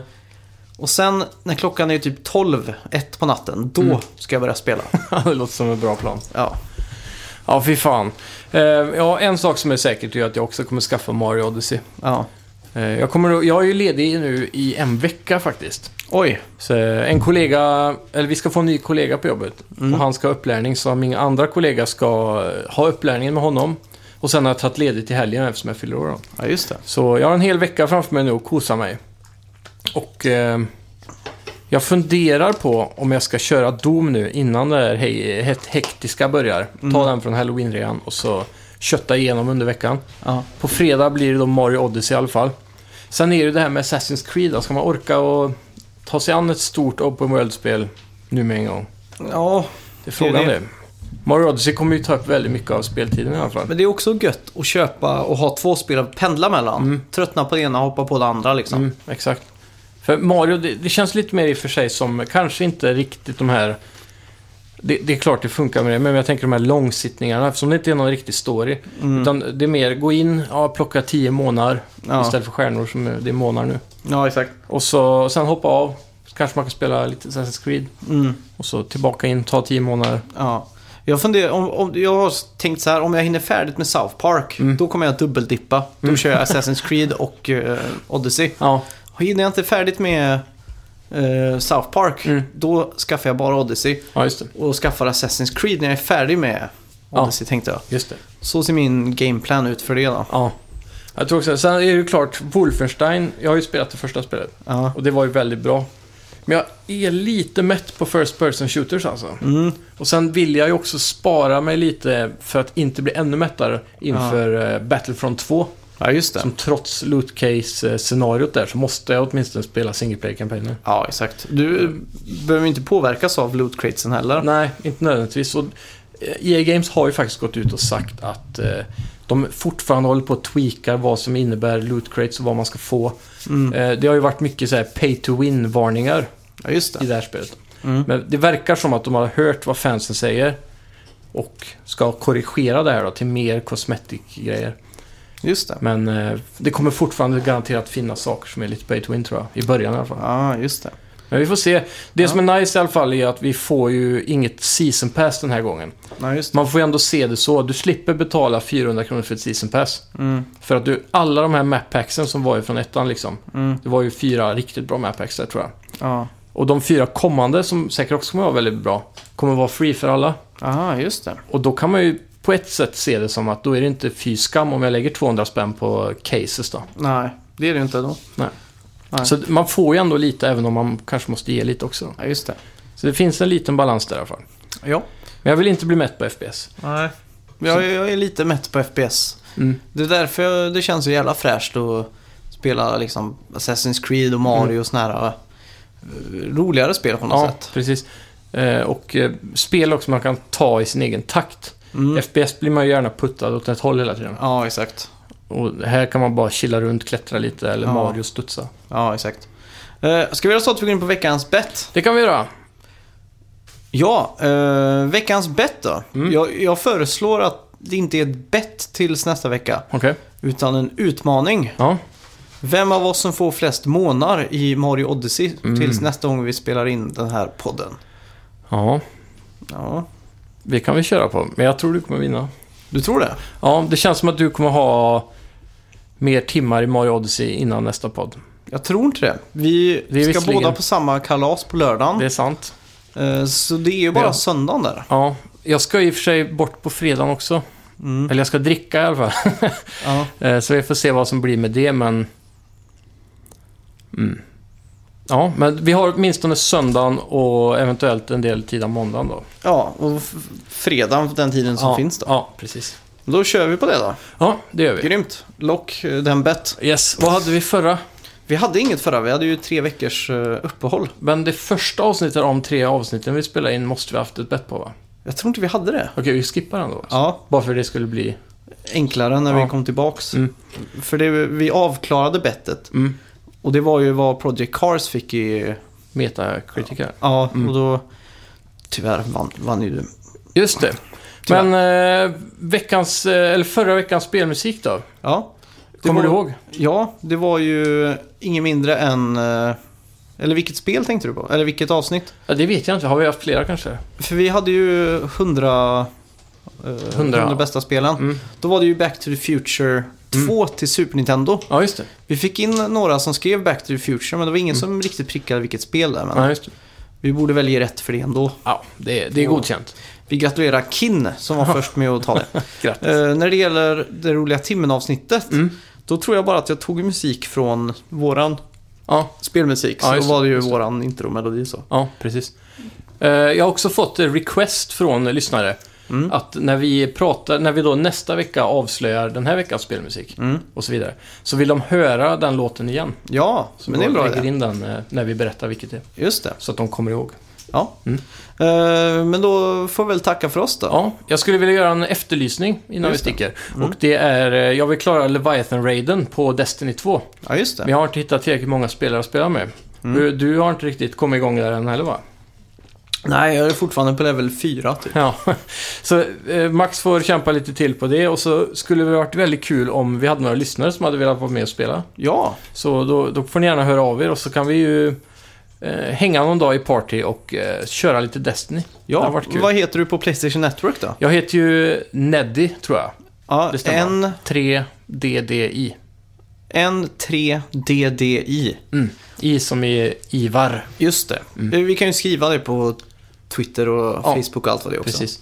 A: Och sen när klockan är typ 12, 1 på natten, då
B: Mm.
A: ska jag börja spela.
B: det låter som en bra plan.
A: Ja.
B: Ja, fy fan. Eh, ja, en sak som är säkert är att jag också kommer skaffa Mario Odyssey.
A: ja.
B: Eh, jag, kommer, att- jag är ju ledig nu i en vecka faktiskt.
A: Oj.
B: Så eh, en kollega, eller vi ska få en ny kollega på jobbet. Och han ska ha upplärning, så min andra kollega ska eh, ha upplärningen med honom. Och sen har jag tagit ledigt i helgen eftersom jag fyller år då.
A: Ja, just det.
B: Så jag har en hel vecka framför mig nu och kosa mig. Och eh, jag funderar på om jag ska köra Doom nu innan det här hej, het- hektiska börjar. Ta den från Halloween-rean och så kötta igenom under veckan.
A: Ja.
B: På fredag blir det då Mario Odyssey i alla fall. Sen är det ju det här med Assassin's Creed. Då. Ska man orka och ta sig an ett stort Open World-spel nu med en gång?
A: Ja,
B: Det är frågan
A: det.
B: det. Mario Odyssey kommer ju ta upp väldigt mycket av speltiden i alla fall.
A: men det är också gött att köpa och ha två spel att pendla mellan. Tröttna på det ena och hoppa på det andra liksom.
B: Mm, exakt. För Mario, det, det känns lite mer i och för sig som kanske inte riktigt de här... Det, det är klart det funkar med det, men jag tänker de här långsittningarna eftersom det inte är någon riktig story. Utan det är mer gå in, ja, plocka 10 månader
A: Ja.
B: istället för stjärnor som är- det är månader nu.
A: Ja, exakt.
B: Och så sen hoppa av, så kanske man kan spela lite Assassin's Creed.
A: Mm.
B: Och så tillbaka in, ta 10 månader.
A: Ja. Jag, funderar, om, om, jag har tänkt så här, om jag hinner färdigt med South Park,
B: Mm.
A: då kommer jag dubbeldippa. Då kör
B: [laughs]
A: jag Assassin's Creed och eh, Odyssey.
B: Ja,
A: Och hinner jag inte färdigt med eh, South Park,
B: Mm.
A: då skaffar jag bara Odyssey.
B: ja just det.
A: Och skaffar Assassin's Creed när jag är färdig med
B: Ja.
A: Odyssey, tänkte jag.
B: Just det.
A: Så ser min gameplan ut för det då.
B: Ja. Jag tror också, sen är det ju klart, Wolfenstein, jag har ju spelat det första spelet.
A: Ja.
B: Och det var ju väldigt bra. Men jag är lite mätt på First Person Shooters alltså.
A: Mm.
B: Och sen vill jag ju också spara mig lite för att inte bli ännu mättare inför eh, Battlefront 2.
A: ja, just det.
B: Som trots loot case-scenariot där så måste jag åtminstone spela single player-kampanjen.
A: Ja, exakt. Du eh, behöver inte påverkas av loot cratesen heller.
B: E Nej, inte nödvändigtvis. Och eh, EA Games har ju faktiskt gått ut och sagt att eh, de fortfarande håller på att tweaka vad som innebär loot crates och vad man ska få.
A: Mm.
B: Eh, det har ju varit mycket så här pay to win-varningar
A: Ja, just
B: i
A: det.
B: det här spelet.
A: Mm.
B: Men det verkar som att de har hört vad fansen säger och ska korrigera det här då till mer cosmetic-grejer.
A: Just det.
B: Men eh, det kommer fortfarande garanterat finnas saker som är lite pay to win tror jag. I början i alla fall.
A: Ja, just det.
B: Men vi får se. Det
A: Ja.
B: som är nice i alla fall är att vi får ju inget season pass den här gången.
A: Ja, just det.
B: Man får ju ändå se det så. Du slipper betala 400 kronor för ett season pass.
A: Mm.
B: För att du, alla de här mappacksen som var ju från ettan liksom.
A: Mm.
B: Det var ju fyra riktigt bra mappacks där tror jag.
A: Ja.
B: Och de fyra kommande som säkert också kommer vara väldigt bra. Kommer vara free för alla.
A: Aha, just det.
B: Och då kan man ju på ett sätt se det som att då är det inte fy skam om jag lägger 200 spänn på cases då.
A: Nej, det är det ju inte då. Nej.
B: Så man får ju ändå lite även om man kanske måste ge lite också.
A: Ja, just det.
B: Så det finns en liten balans där i alla fall.
A: Ja.
B: Men jag vill inte bli mätt på FPS.
A: Nej. Jag, jag är lite mätt på FPS.
B: Mm.
A: Det är därför jag, det känns så jävla fräscht att spela liksom Assassin's Creed och Mario och såna här eh, roligare spel på något
B: Mm. Ja,
A: sätt.
B: precis. Eh, Och eh, spel också man kan ta i sin egen takt.
A: Mm.
B: FPS blir man ju gärna puttad åt ett håll hela tiden.
A: Ja, exakt.
B: Och här kan man bara chilla runt, klättra lite eller
A: Ja.
B: Mario studsa.
A: Ja, exakt. Eh, ska vi göra så att vi går in på veckans bett?
B: Det kan vi göra.
A: Ja, eh, veckans bett då.
B: Mm.
A: Jag, jag föreslår att det inte är ett bett tills nästa vecka,
B: Okej.
A: utan en utmaning.
B: Ja.
A: Vem av oss som får flest månar i Mario Odyssey
B: Mm.
A: tills nästa gång vi spelar in den här podden?
B: ja,
A: Ja,
B: det kan vi köra på. Men jag tror du kommer vinna.
A: du tror det?
B: Ja, det känns som att du kommer ha mer timmar i Mario Odyssey innan nästa podd.
A: Jag tror inte det. Vi
B: Det är
A: ska
B: visserligen-
A: båda på samma kalas på lördagen.
B: Det är sant.
A: Eh, Så det är ju bara
B: Ja.
A: söndagen där.
B: Ja, jag ska i och för sig bort på fredagen också.
A: Mm.
B: Eller jag ska dricka i alla fall. [laughs]
A: Ja.
B: Eh, Så vi får se vad som blir med det, men... Mm. Ja, men vi har åtminstone söndagen och eventuellt en del tid av måndagen då.
A: ja, och f- fredagen den tiden som
B: ja,
A: finns då.
B: Ja, precis.
A: Då kör vi på det då.
B: Ja, det gör vi.
A: Grymt. Lock eh, den bett.
B: Yes, vad hade vi förra?
A: Vi hade inget förra, vi hade ju tre veckors eh, uppehåll.
B: Men det första avsnittet av de tre avsnitten vi spelade in måste vi ha haft ett bett på va?
A: Jag tror inte vi hade det.
B: Okej, vi skippar den då.
A: Ja,
B: Bara för det skulle bli...
A: enklare när
B: Ja.
A: vi kom tillbaks.
B: Mm.
A: För det, vi avklarade bettet.
B: Mm.
A: Och det var ju vad Project Cars fick i...
B: Metakritiker.
A: Ja,
B: Mm.
A: och då... Tyvärr vann, vann ju du.
B: Just det.
A: Tyvärr.
B: Men eh, veckans, eh, eller förra veckans spelmusik då?
A: Ja. Det
B: Kommer
A: var-
B: du ihåg?
A: Ja, det var ju inget mindre än... eh, Eller vilket spel tänkte du på? Eller vilket avsnitt?
B: Ja, det vet jag inte. Har vi haft flera kanske?
A: För vi hade ju 100... eh,
B: 100.
A: 100 bästa spelen.
B: Mm.
A: Då var det ju Back to the Future 2 till Super Nintendo.
B: Ja, just det.
A: Vi fick in några som skrev Back to the Future, men det var
B: Mm.
A: ingen som riktigt prickade vilket spel det är. Men
B: Ja, just det.
A: vi borde väl ge rätt för det ändå.
B: Ja, det, det är
A: Och-
B: godkänt.
A: Vi gratulerar Kin som var först med att ta
B: [laughs]
A: det.
B: Grattis.
A: Eh, när det gäller det roliga timmen-avsnittet,
B: Mm.
A: då tror jag bara att jag tog musik från våran
B: Ja,
A: spelmusik.
B: Ja,
A: så
B: just
A: var det ju
B: just det.
A: våran intromelodi så.
B: ja precis. Eh, jag har också fått eh, request från eh, lyssnare
A: Mm.
B: att när vi pratar, när vi då nästa vecka avslöjar den här veckans spelmusik
A: Mm.
B: och så vidare, så vill de höra den låten igen.
A: Ja,
B: Så
A: men det är en
B: då
A: bra
B: lägger
A: idé.
B: in den eh, när vi berättar vilket det är,
A: Just det.
B: så att de kommer ihåg.
A: Ja.
B: Mm.
A: Eh, men då får vi väl tacka för oss då.
B: Ja, jag skulle vilja göra en efterlysning innan
A: Just
B: vi
A: det. Mm.
B: sticker. Och det är, eh, jag vill klara Leviathan-raiden på Destiny 2.
A: Ja, Mm. just
B: Men
A: det.
B: jag har inte hittat tillräckligt många spelare att spela med. Du, du har inte riktigt kommit igång där än heller va?
A: Nej, jag är fortfarande på level 4 typ.
B: Ja, [laughs] så eh, Max får kämpa lite till på det och så skulle det varit väldigt kul om vi hade några lyssnare som hade velat vara med och spela.
A: Ja,
B: Så då, då får ni gärna höra av er och så kan vi ju eh, hänga någon dag i party och eh, köra lite Destiny. Det
A: ja.
B: har varit kul.
A: vad heter du på Playstation Network då?
B: Jag heter ju Neddy tror jag.
A: Ja,
B: Det stämmer.
A: N,
B: 3DDI.
A: N3DDI.
B: Mm. I som i Ivar.
A: Just det.
B: Mm.
A: Vi kan ju skriva det på Twitter och Facebook och allt vad det är också.
B: Precis.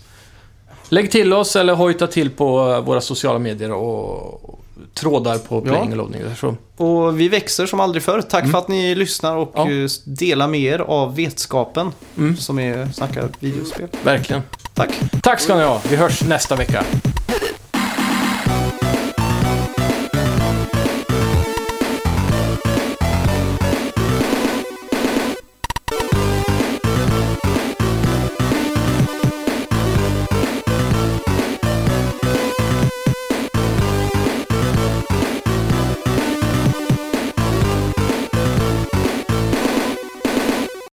B: Lägg till oss eller hojta till på eh, våra sociala medier och och trådar på Playing and Loading. Jag tror-
A: Och vi växer som aldrig förr. Tack för att ni lyssnar och
B: Mm. Ja.
A: eh, delar med er av vetskapen
B: Mm.
A: som är snacka videospel.
B: Verkligen.
A: Tack!
B: Tack ska ni ha. Vi hörs nästa vecka.